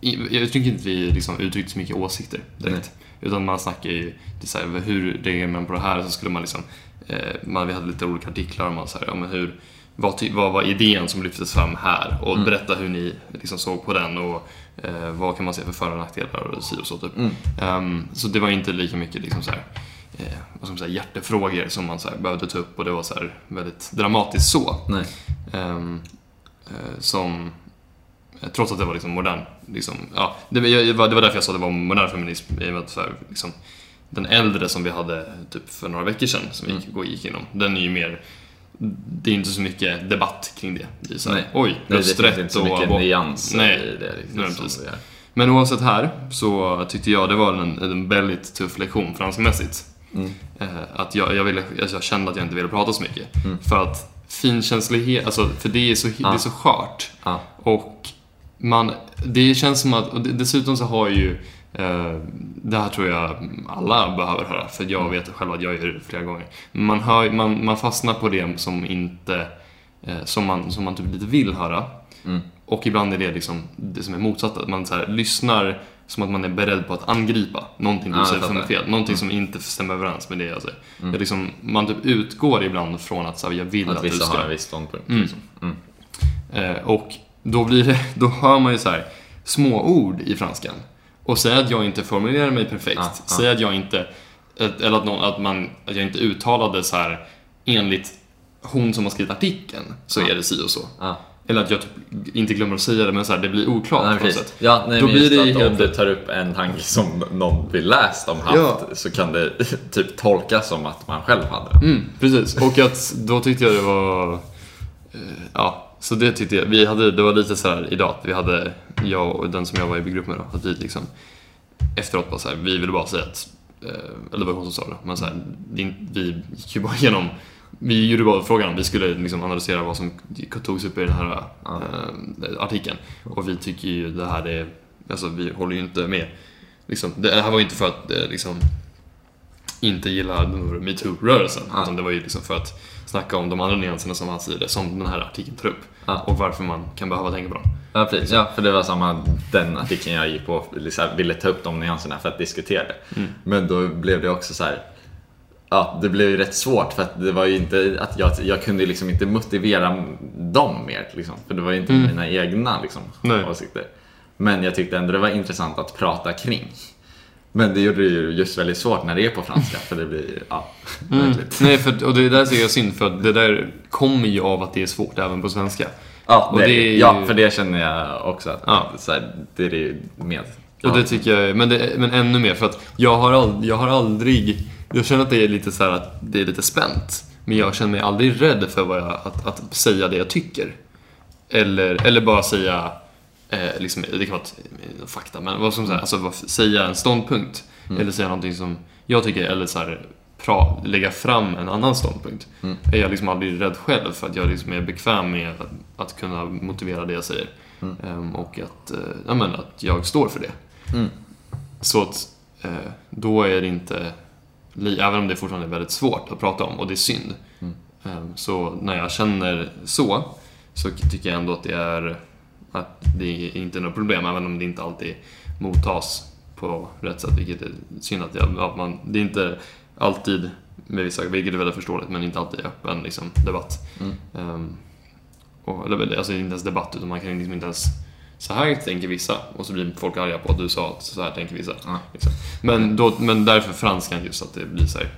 i- Jag tycker inte vi liksom uttryckte så mycket åsikter direkt. Utan man snackar ju, det är så här, hur reagerar man på det här? Så skulle man liksom, eh, man, vi hade lite olika artiklar om man så här, ja, men hur, vad, ty- vad var idén som lyftes fram här? Och berätta hur ni liksom såg på den och eh, vad kan man se för för och nackdelar och si och så typ. Mm, Ehm, så det var inte lika mycket liksom så här, eh, vad ska man säga, hjärtefrågor som man så här, behövde ta upp och det var så här, väldigt dramatiskt så. Nej. Ehm, eh, som, eh, trots att det var liksom modern, liksom, ja, det, var- jag, var- det var därför jag sa att det var modern feminism, i och med att så här, liksom, den äldre som vi hade typ för några veckor sedan, som vi Mm. gick, gick igenom, den är ju mer, det är inte så mycket debatt kring det. Det är så här, Nej. oj, Nej, det finns inte rösträtt så mycket abort. nyanser Nej. i det. Liksom, Nej, som precis. det är. Men oavsett här så tyckte jag det var en, en väldigt tuff lektion franskmässigt. Mm. Eh, att jag, jag, ville, alltså jag kände att jag inte ville prata så mycket. Mm. För att finkänslighet, alltså, för det är så, Ah. det är så skört. Ja. Och man, det känns som att, och det- dessutom så har ju, eh, det här tror jag alla behöver höra, för jag vet själv att jag gör det flera gånger. Man, hör, man, man fastnar på det som inte, eh, som man, som man typ lite vill höra. Mm. Och ibland är det liksom det som är motsatt, att man så här, lyssnar som att man är beredd på att angripa någonting du Ja, jag säger som är fattar. Mm. fel, någonting som inte stämmer överens med det jag säger. Jag liksom, man typ utgår ibland från att så här, jag vill att, Att du vissa ska... har en viss ståndpunkt. Liksom. Eh, och då, blir det, [laughs] då hör man ju så här, små ord i franskan. Och säg att jag inte formulerar mig perfekt. Ah, ah. Säg att jag inte, att- eller att, någon, att, man, att jag inte uttalade så här enligt hon som har skrivit artikeln Ah. så är det si och så. Ja. Eller att jag typ inte glömmer att säga det men så här, det blir oklart Nej, på något precis. sätt. Ja, nej, Då men blir just det att ju helt- Om du tar upp en tanke som någon vill läst om haft Ja. så kan det [laughs] typ tolkas som att man själv hade den. Mm, precis, och att då tyckte jag det var... eh, Ja, så det tyckte jag. Vi hade, det var lite så här idag, att vi hade, jag och den som jag var i grupp med då, att vi liksom efteråt bara så här, vi ville bara säga att, eh, eller det var hon som sa det, men så här, det är inte- vi gick ju bara igenom, vi gjorde bara frågan, vi skulle liksom analysera vad som togs upp i den här eh, artikeln. Och vi tycker ju det här är, alltså vi håller ju inte med. Liksom, det här var ju inte för att eh, liksom, inte gilla metoo-rörelsen, Ah. utan det var ju liksom för att snacka om de andra nyanserna som han säger, som den här artikeln tar upp. Ah. Och varför man kan behöva tänka på dem. Ja, precis. Ja, för det var samma den artikeln jag gick på, liksom, ville ta upp de nyanserna för att diskutera det. Mm. Men då blev det också så här. Ja, det blev ju rätt svårt för att det var ju inte att jag, jag kunde ju liksom inte motivera dem mer. Liksom, för det var ju inte mina egna liksom, Mm. Nej. åsikter. Men jag tyckte ändå det var intressant att prata kring. Men det gjorde det ju just väldigt svårt när det är på franska för det blir, ja, Mm. verkligt. Nej, för, och det där ser jag synd för att det där kommer ju av att det är svårt även på svenska. Ja, Och det, är det det är ju... ju- ja, för det känner jag också att Ja. så här, det är det ju med. Och det tycker jag, är- men, det, men ännu mer för att jag har, ald, jag har aldrig, jag känner att det är lite så här att det är lite spänt. Men jag känner mig aldrig rädd för vad jag, att, att säga det jag tycker. Eller, eller bara säga, eh, liksom, det kan vara ett, eh, fakta, men vad som säga, alltså, vad, säga en ståndpunkt. Mm. Eller säga någonting som jag tycker, eller så här, pra, lägga fram en annan ståndpunkt. Mm. Är jag liksom aldrig rädd själv för att jag liksom är bekväm med att, att kunna motivera det jag säger. Mm. Ehm, och att, eh, ja, men, att jag står för det. Mm. Så att eh, då är det inte, li- även om det fortfarande är väldigt svårt att prata om och det är synd. Mm. Ehm, Så när jag känner så, så tycker jag ändå att det är att det är inte är något problem, även om det inte alltid mottas på rätt sätt, vilket är synd att, jag, att man, det är inte alltid med vissa, vilket är väldigt förståeligt, men inte alltid öppen liksom, debatt. Mm. Ehm, och, eller, väl, alltså inte ens debatt, utan man kan liksom inte ens så här tänker vissa och så blir folk arga på att du sa att så här tänker vissa. Ja. Liksom. Men, då, men därför franskan just att det blir så här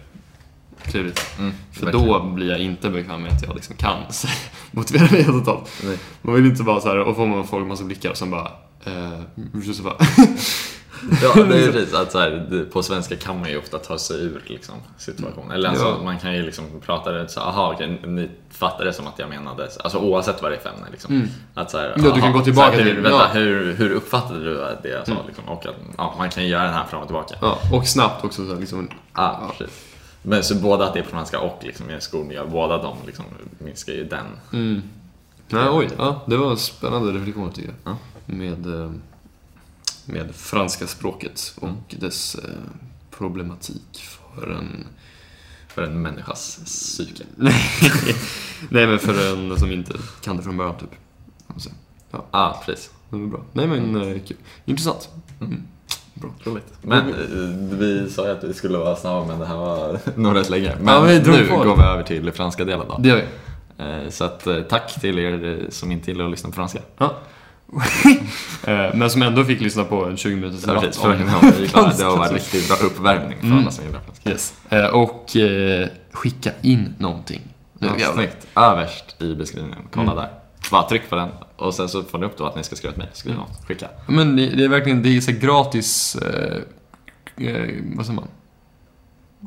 klurigt. Mm. För verkligen. då blir jag inte bekväm med att jag liksom kan så- [laughs] motivera mig totalt. Nej. Man vill inte bara så här, och får man folk massa blickar och sen bara... Eh, just så bara [laughs] Ja, det är ju precis att så här, det- på svenska kan man ju ofta ta sig ur liksom, situationen. Eller alltså, Ja. man kan ju liksom prata det så aha okej, ni fattar det som att jag menade, alltså oavsett vad det är för ämne. Liksom. Mm. Att så här, Ja, du kan "Aha, gå tillbaka så här, hur, till- vänta, ja. Mm. hur, hur uppfattade du det jag sa? Liksom? Och att, ja, man kan ju göra den här fram och tillbaka. ja, Och snabbt också. Så här, liksom, Ja, precis. Men så båda att det är på franska och liksom, i skolmiljö, båda de liksom, minskar ju den. mm. Nej, oj. Ja, det var en spännande reflektion tycker jag. Med, eh, med franska språket och dess eh, problematik för en... För en människas psyke. [laughs] Nej, men för en som inte kan det från början typ. Så, Ja, Ah, precis. Det var bra. Nej, men Mm. eh, kul. Intressant. Mm. Men eh, vi sa ju att vi skulle vara snabba, men det här var [laughs] nog rätt länge. Men Ja, vi drog nu på det. går vi över till franska delen då. Det gör vi. Eh, Så att, eh, tack till er eh, som inte gillar att lyssna på franska. Eh, Men som ändå fick lyssna på en 20 minuters Ja, precis, debatt. för [laughs] om- det var- det [laughs] har varit riktigt bra uppvärmning för Mm. alla som gillar franska. Yes. Eh, Och eh, skicka in någonting. Nu Ja, jävlar. Snyggt. Överst i beskrivningen, kolla Mm. där. Bara tryck på den och sen så får ni upp då att ni ska skriva till mig. Skriv Mm. något, skicka. Men det det är verkligen, det är så här gratis... Eh, eh, vad säger man?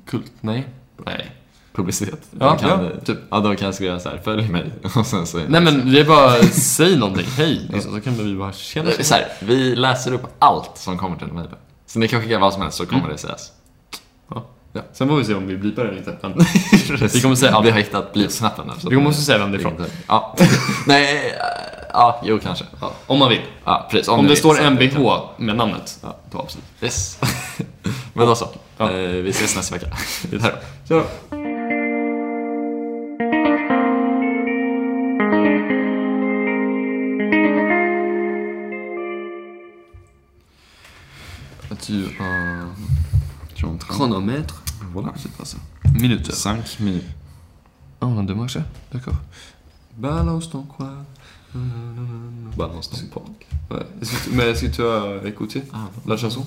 Kult? Nej. Nej. Publicitet. Ja, Då kan, ja, eh, typ. ja, då kan jag skriva så här, följ mig. [laughs] Och sen så, Nej men det är bara, säg någonting, [laughs] hej. Liksom, så kan vi bara känna Eh, Så här, vi läser upp allt som kommer till mejlen. Så ni kan skicka vad som helst så kommer Mm. det sägas. Sen får vi se om vi blipar eller [laughs] inte. Men Vi kommer säga allt. Vi har hittat blipsnappen här. så vi att- måste säga vem det är ifrån. Ja. [laughs] Nej, eh, ja, jo kanske. Ja, om man vill. Ja, precis. Om ni det vill, så står att ni MBH kan- med namnet, Ja. då absolut. [laughs] Yes. Men då så. Ja. Eh, Vi ses [laughs] nästa vecka. Hej då. Kör. Tu Chronomètre. Voilà. C'est pas ça. Minute. 5 minuter. Ah, on a deux mois, ça D'accord. Balance ton quoi Balance ton porc. Ouais. Est-ce que tu- Mais est-ce que tu as écouté la chanson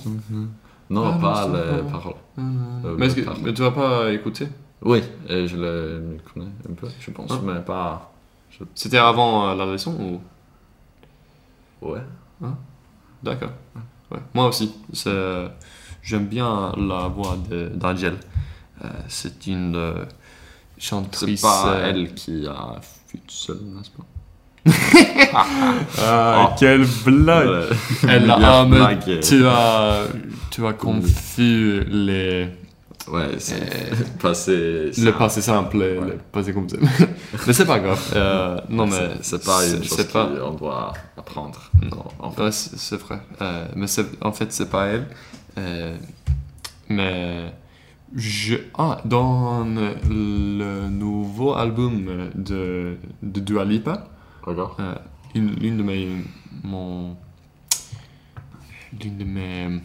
Non, Balance pas ton le porc. parole. Mm. Euh, mais, est-ce le que, parle. mais tu vas pas écouter Oui, euh, je le connais un peu, je pense, Ah. mais pas. C'était avant euh, la leçon ou Ouais. D'accord. Ouais. Moi aussi. c'est, euh, J'aime bien la voix de- d'Angel. Euh, c'est une euh, C'est chantrice. pas euh, elle qui a fut seule, n'est-ce pas [laughs] Ah, Ah. quelle blague Euh, [laughs] Elle a, meilleure ah, mais blague, euh, tu as, tu as confus les, Ouais, c'est euh, passé. le passé simple et Ouais. le passé complet. [laughs] mais c'est pas grave. Euh, non mais C'est pas Mm. une chose c'est pas- qu'on doit apprendre. Non. en fait. Ouais, c'est c'est vrai. Euh, mais c'est- en fait, c'est pas elle. Euh, mais je, ah, dans le nouveau album de, de Dua Lipa, Regarde. euh, une, l'une de mes, mon, l'une de mes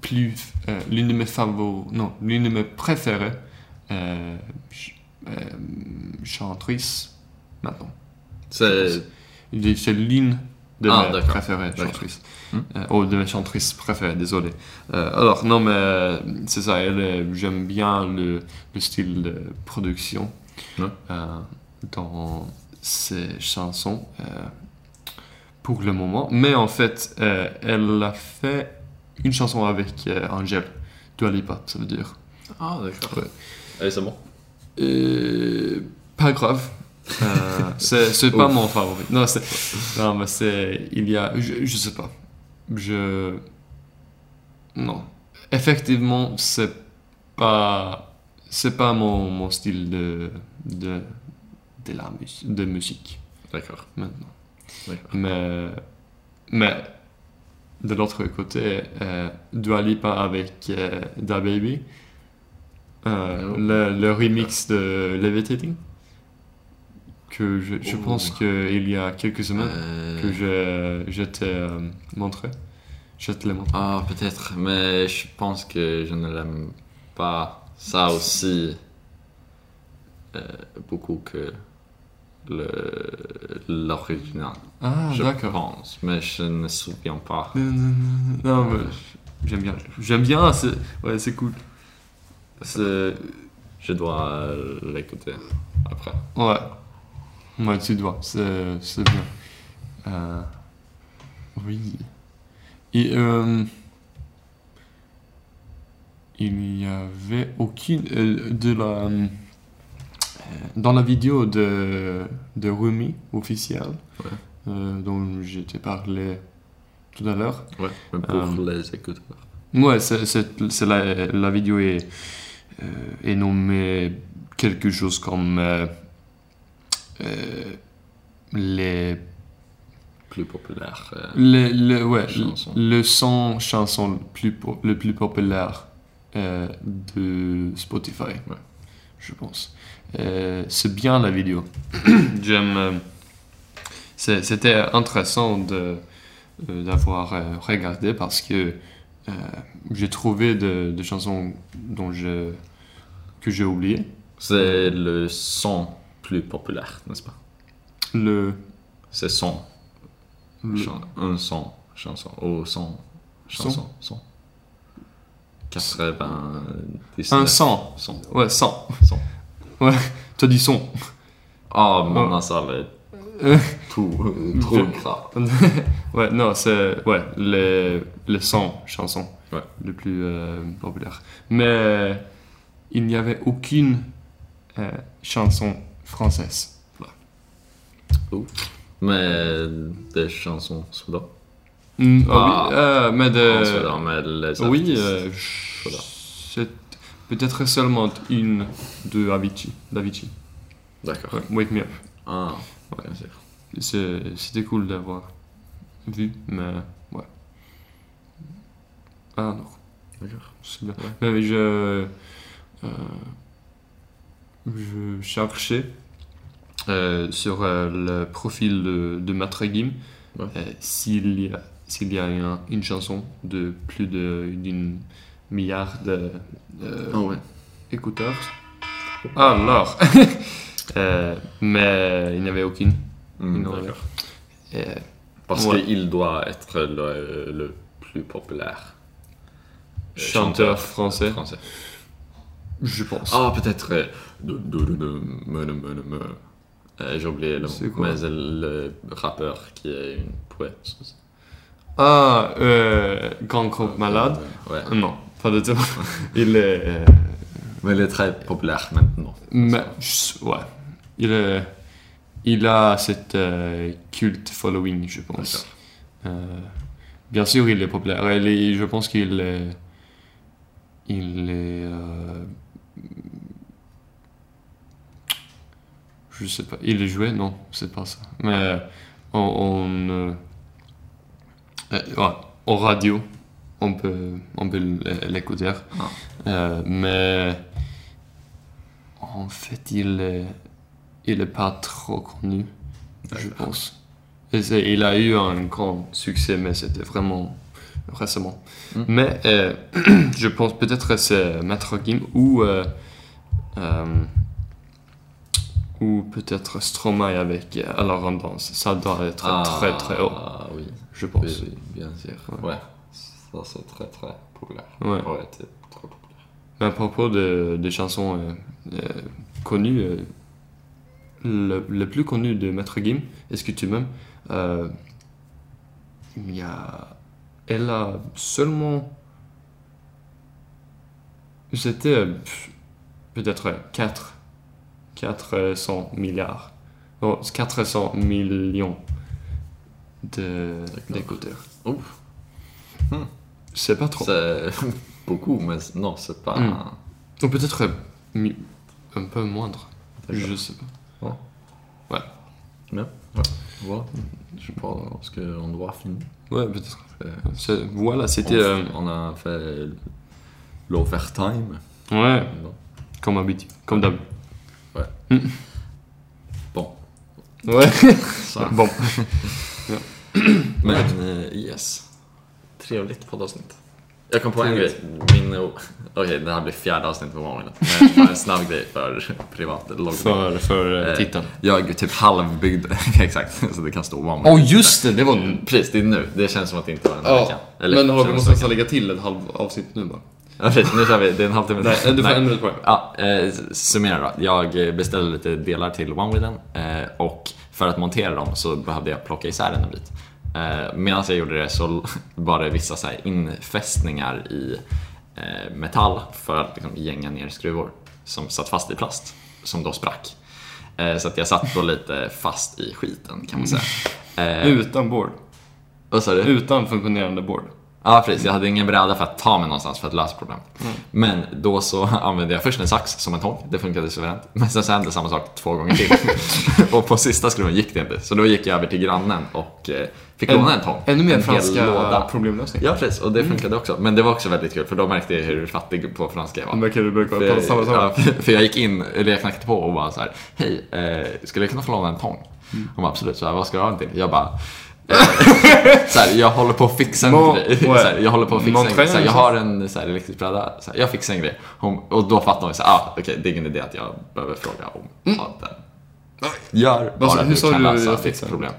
plus, euh, l'une de mes favoris, non, l'une de mes préférées, euh, ch- euh, chantrice maintenant. C'est. Il est- C'est l'une de Ah, mes d'accord. préférées D'accord. chantrices. Hmm. Euh, oh, de mes chantrices préférées, désolé. Euh, alors, non, mais euh, c'est ça, elle, euh, j'aime bien le, le style de production Ouais. euh, dans ses chansons euh, pour le moment. Mais en fait, euh, elle a fait une chanson avec euh, Angel, Dua Lipa, ça veut dire. Ah, d'accord. Ouais. Allez, c'est bon. Euh, pas grave. Euh, c'est c'est pas mon favori. Non, c'est. Non, mais c'est. Il y a. Je, je sais pas. Je. Non. effectivement, c'est pas, c'est pas mon, mon style de, de, de, la mus- de musik D'accord. maintenant. D'accord. Mais, mais de l'autre côté, euh, Dua Lipa avec euh, Da Baby, euh, Oh. le, le remix de Levitating, que je, je Oh. pense qu'il y a quelques semaines Euh, que je, je t'ai euh, montré. Je te l'ai montré. Ah, peut-être, mais je pense que je ne l'aime pas ça aussi euh, beaucoup que le- l'original. Ah, je d'accord. pense, mais je ne me souviens pas. Non, non, non, non, mais j'aime bien. J'aime bien, c'est ouais, c'est cool. C'est- Je dois euh, l'écouter après. Ouais. Ouais, tu dois, c'est c'est bien. Euh, oui. Et euh, il n'y avait aucune euh, de la euh, dans la vidéo de de Rumi officielle Ouais. euh, dont je t'ai parlé tout à l'heure. Ouais, mais pour Euh, les écouteurs. Ouais, c'est, c'est, c'est la, la vidéo est, euh, est nommée quelque chose comme euh, euh, les, Plus populaires. euh, les, le- ouais, Chansons. le 100 chansons le plus, po- le plus populaire euh, de Spotify, Ouais. je pense. Euh, c'est bien la vidéo. [coughs] J'aime. euh, c'est- c'était intéressant de, euh, d'avoir euh, regardé parce que euh, j'ai trouvé des de chansons dont je, que j'ai oubliées. C'est le son plus populaire, n'est-ce pas Le, C'est son. le- Chan- un son. Chanson. Au son. Chanson. Son. 90. un 100. Son. Ouais, 100. Son. T'as dit son. Ah, mon nasal är Euh. [laughs] to- tråkig. ouais, non, c'est ouais, les, les 100 chansons Ouais. les plus euh, populaires. Mais il n'y avait aucune euh, chanson française. Med det chanson sådär. Mm, ah Ah. oui, euh, mais de- Sådär med les oui, artistes. euh, Voilà. c'est peut-être seulement une de Avicii. d'Avicii. D'accord. Ouais, Wake Me Up. Ah, Ouais. jag ser. C'est- C'était cool d'avoir vu, mais ouais. Ah non. D'accord. C'est bien. Mais je, euh, je cherchais euh, sur euh, le profil de, de Matt Regim Ouais. euh, s'il y a, s'il y a un- une chanson de plus de- d'une milliard de, euh, Ah ouais. écouteurs. Alors, [laughs] euh, mais il n'y avait aucune. Mm, Non, d'accord. Euh, Parce Ouais. qu'il doit être le, le plus populaire euh, chanteur français, français. je pense. Ah, peut-être. euh, du- du- du- du- me- me- me- me. Euh, J'ai oublié le C'est nom. quoi Mais c'est le rappeur qui est une poète. je sais. Ah, euh, Grand Corps Malade. Euh, Ouais. Non, pas du tout. [laughs] Il est. euh, Mais il est très populaire maintenant. Mais, je- ouais. Il, est- il a cette euh, culte following, je pense. Euh, bien sûr, il est populaire. Il est- je pense qu'il est. Il est. euh, je sais pas. Il est joué Non, c'est pas ça. Mais euh, on. on euh, euh, ouais, en radio, on peut, on peut l'écouter. Ah. Euh, mais. En fait, il est, il est pas trop connu, je pense. Et c'est- il a eu un grand succès, mais c'était vraiment récemment. Mm. Mais euh, [clears throat] je pense peut-être que c'est Maître Kim ou, euh, euh, ou peut-être Stromae avec euh, Alors on danse. Ça doit être Ah, très très haut, Ah oui. je pense. oui, oui, bien sûr. Ouais. Ouais. Ça, c'est très très populaire. Ouais. Ouais, c'est très populaire. Mais à propos de, des chansons euh, euh, connues, euh, le, le plus connu de Maître Gim, est-ce que tu m'aimes euh, Il y a. Elle a seulement. C'était euh, pff, peut-être 4. 400 milliards. Non, 400 millions de- D'accord. d'écouteurs. Ouf. C'est pas trop. C'est [laughs] beaucoup, mais non, c'est pas... Mm. Donc peut-être euh, mi- un peu moindre. D'accord. Je sais pas. Mais, ouais, voilà. Je sais pas ce qu'on doit finir. Ouais, peut-être. Euh, C'est- Voilà, on, c'était... euh, on a fait l'overtime. Ouais, Non. comme habitude. Comme d'hab. Bon. Ouais, Så. [laughs] bon. Men eh, yes. Trevligt poddavsnitt. Jag kom på en Trevligt. grej. Min... oh, Okej, det här blir fjärde avsnittet på morgonen. Men bara en snabb grej för [laughs] privat loggning. För, för Eh, eh, titeln. Jag är typ halvbyggd, [laughs] exakt, så det kan stå vad man Åh just det, det var en... Precis, det är nu. Det känns som att det inte var den här veckan. Ja, men har vi känns som någonstans att lägga till ett halv avsnitt nu bara? veckan. Okej, nu kör vi. Det är en halvtimme Nej, du får en minut på dig. Ja, eh, summera då. Jag beställde lite delar till One With Them, eh, och för att montera dem så behövde jag plocka isär den en bit. Eh, Medan jag gjorde det så [laughs] var det vissa så här infästningar i eh, metall för att liksom gänga ner skruvar som satt fast i plast, som då sprack. Eh, så att jag satt då lite fast i skiten kan man säga. Eh, Utan board. vad sa du? Utan funktionerande board. Ja precis, jag hade ingen bräda för att ta mig någonstans för att lösa problem. Mm. Men då så [laughs] använde jag först en sax som en tång, det funkade suveränt. Men sen så hände samma sak två [laughs] gånger till. och på sista skruven gick det inte. Så då gick jag över till grannen och eh, fick låna en tång. Ännu mer en hel franska Mm. låda. problemlösning. Ja precis, och det funkade också. Men det var också väldigt kul för då märkte jag hur fattig på franska jag var. De verkar du brukar För, prata samma sak. ja, för- för jag gick in, eller jag knackade på och bara så här, hej, eh, skulle jag kunna få låna en tång? Mm. Hon bara absolut, så här, vad ska du ha den till? Jag bara, [laughs] eh, så här, jag håller på att fixa en Må- [laughs] grej. Så ouais. här, jag håller på att fixa en Montrez, grej. Så här, jag liksom. har en så här, elektrisk bräda, så här, jag fixar en grej. Hon, och då fattar hon så här, ah, okej, det är ingen idé att jag behöver fråga om mm. den. Gör bara sa- hur du sa kan du lösa jag ditt fixar? problem.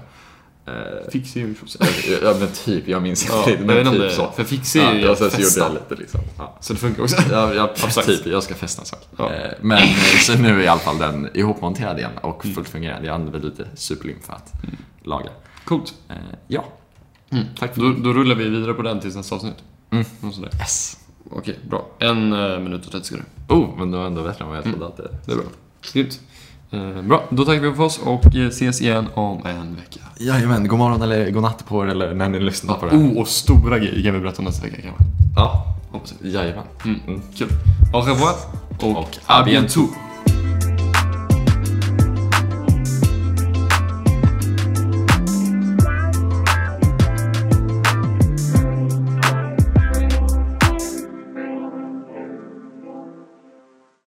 Fixie är ju förstås. Ja men typ, jag minns Ja, inte. jag vet Men inte om typ det, så. för Fixie är ju Ja, och sen att så gjorde jag fästa. lite liksom. Ja. Så det funkar också. Ja, ja Abstrakt. typ. Jag ska fästa en sak. Ja. Eh, Men eh, så nu är i alla fall den ihopmonterad igen och Mm. fullt fungerande. Jag använder lite superlim för att laga. Coolt. Eh, Ja. Tack för Mm. Då, då rullar vi vidare på den tills nästa avsnitt. Mm. Något sånt där. Yes. Okej, bra. En eh, minut och 30 sekunder. Oh, men det var ändå bättre än vad jag trodde att det Mm. Det är bra. Grymt. Eh, bra, då tackar vi för oss och eh, ses igen om en vecka. Jajamän, god morgon eller god natt på er eller när ni lyssnar på det här. Oh, och stora grejer kan vi berätta om nästa vecka kanske. Ja, Hoppas jag. jajamän. Kul. Au revoir och, Och à à bientôt. bientôt.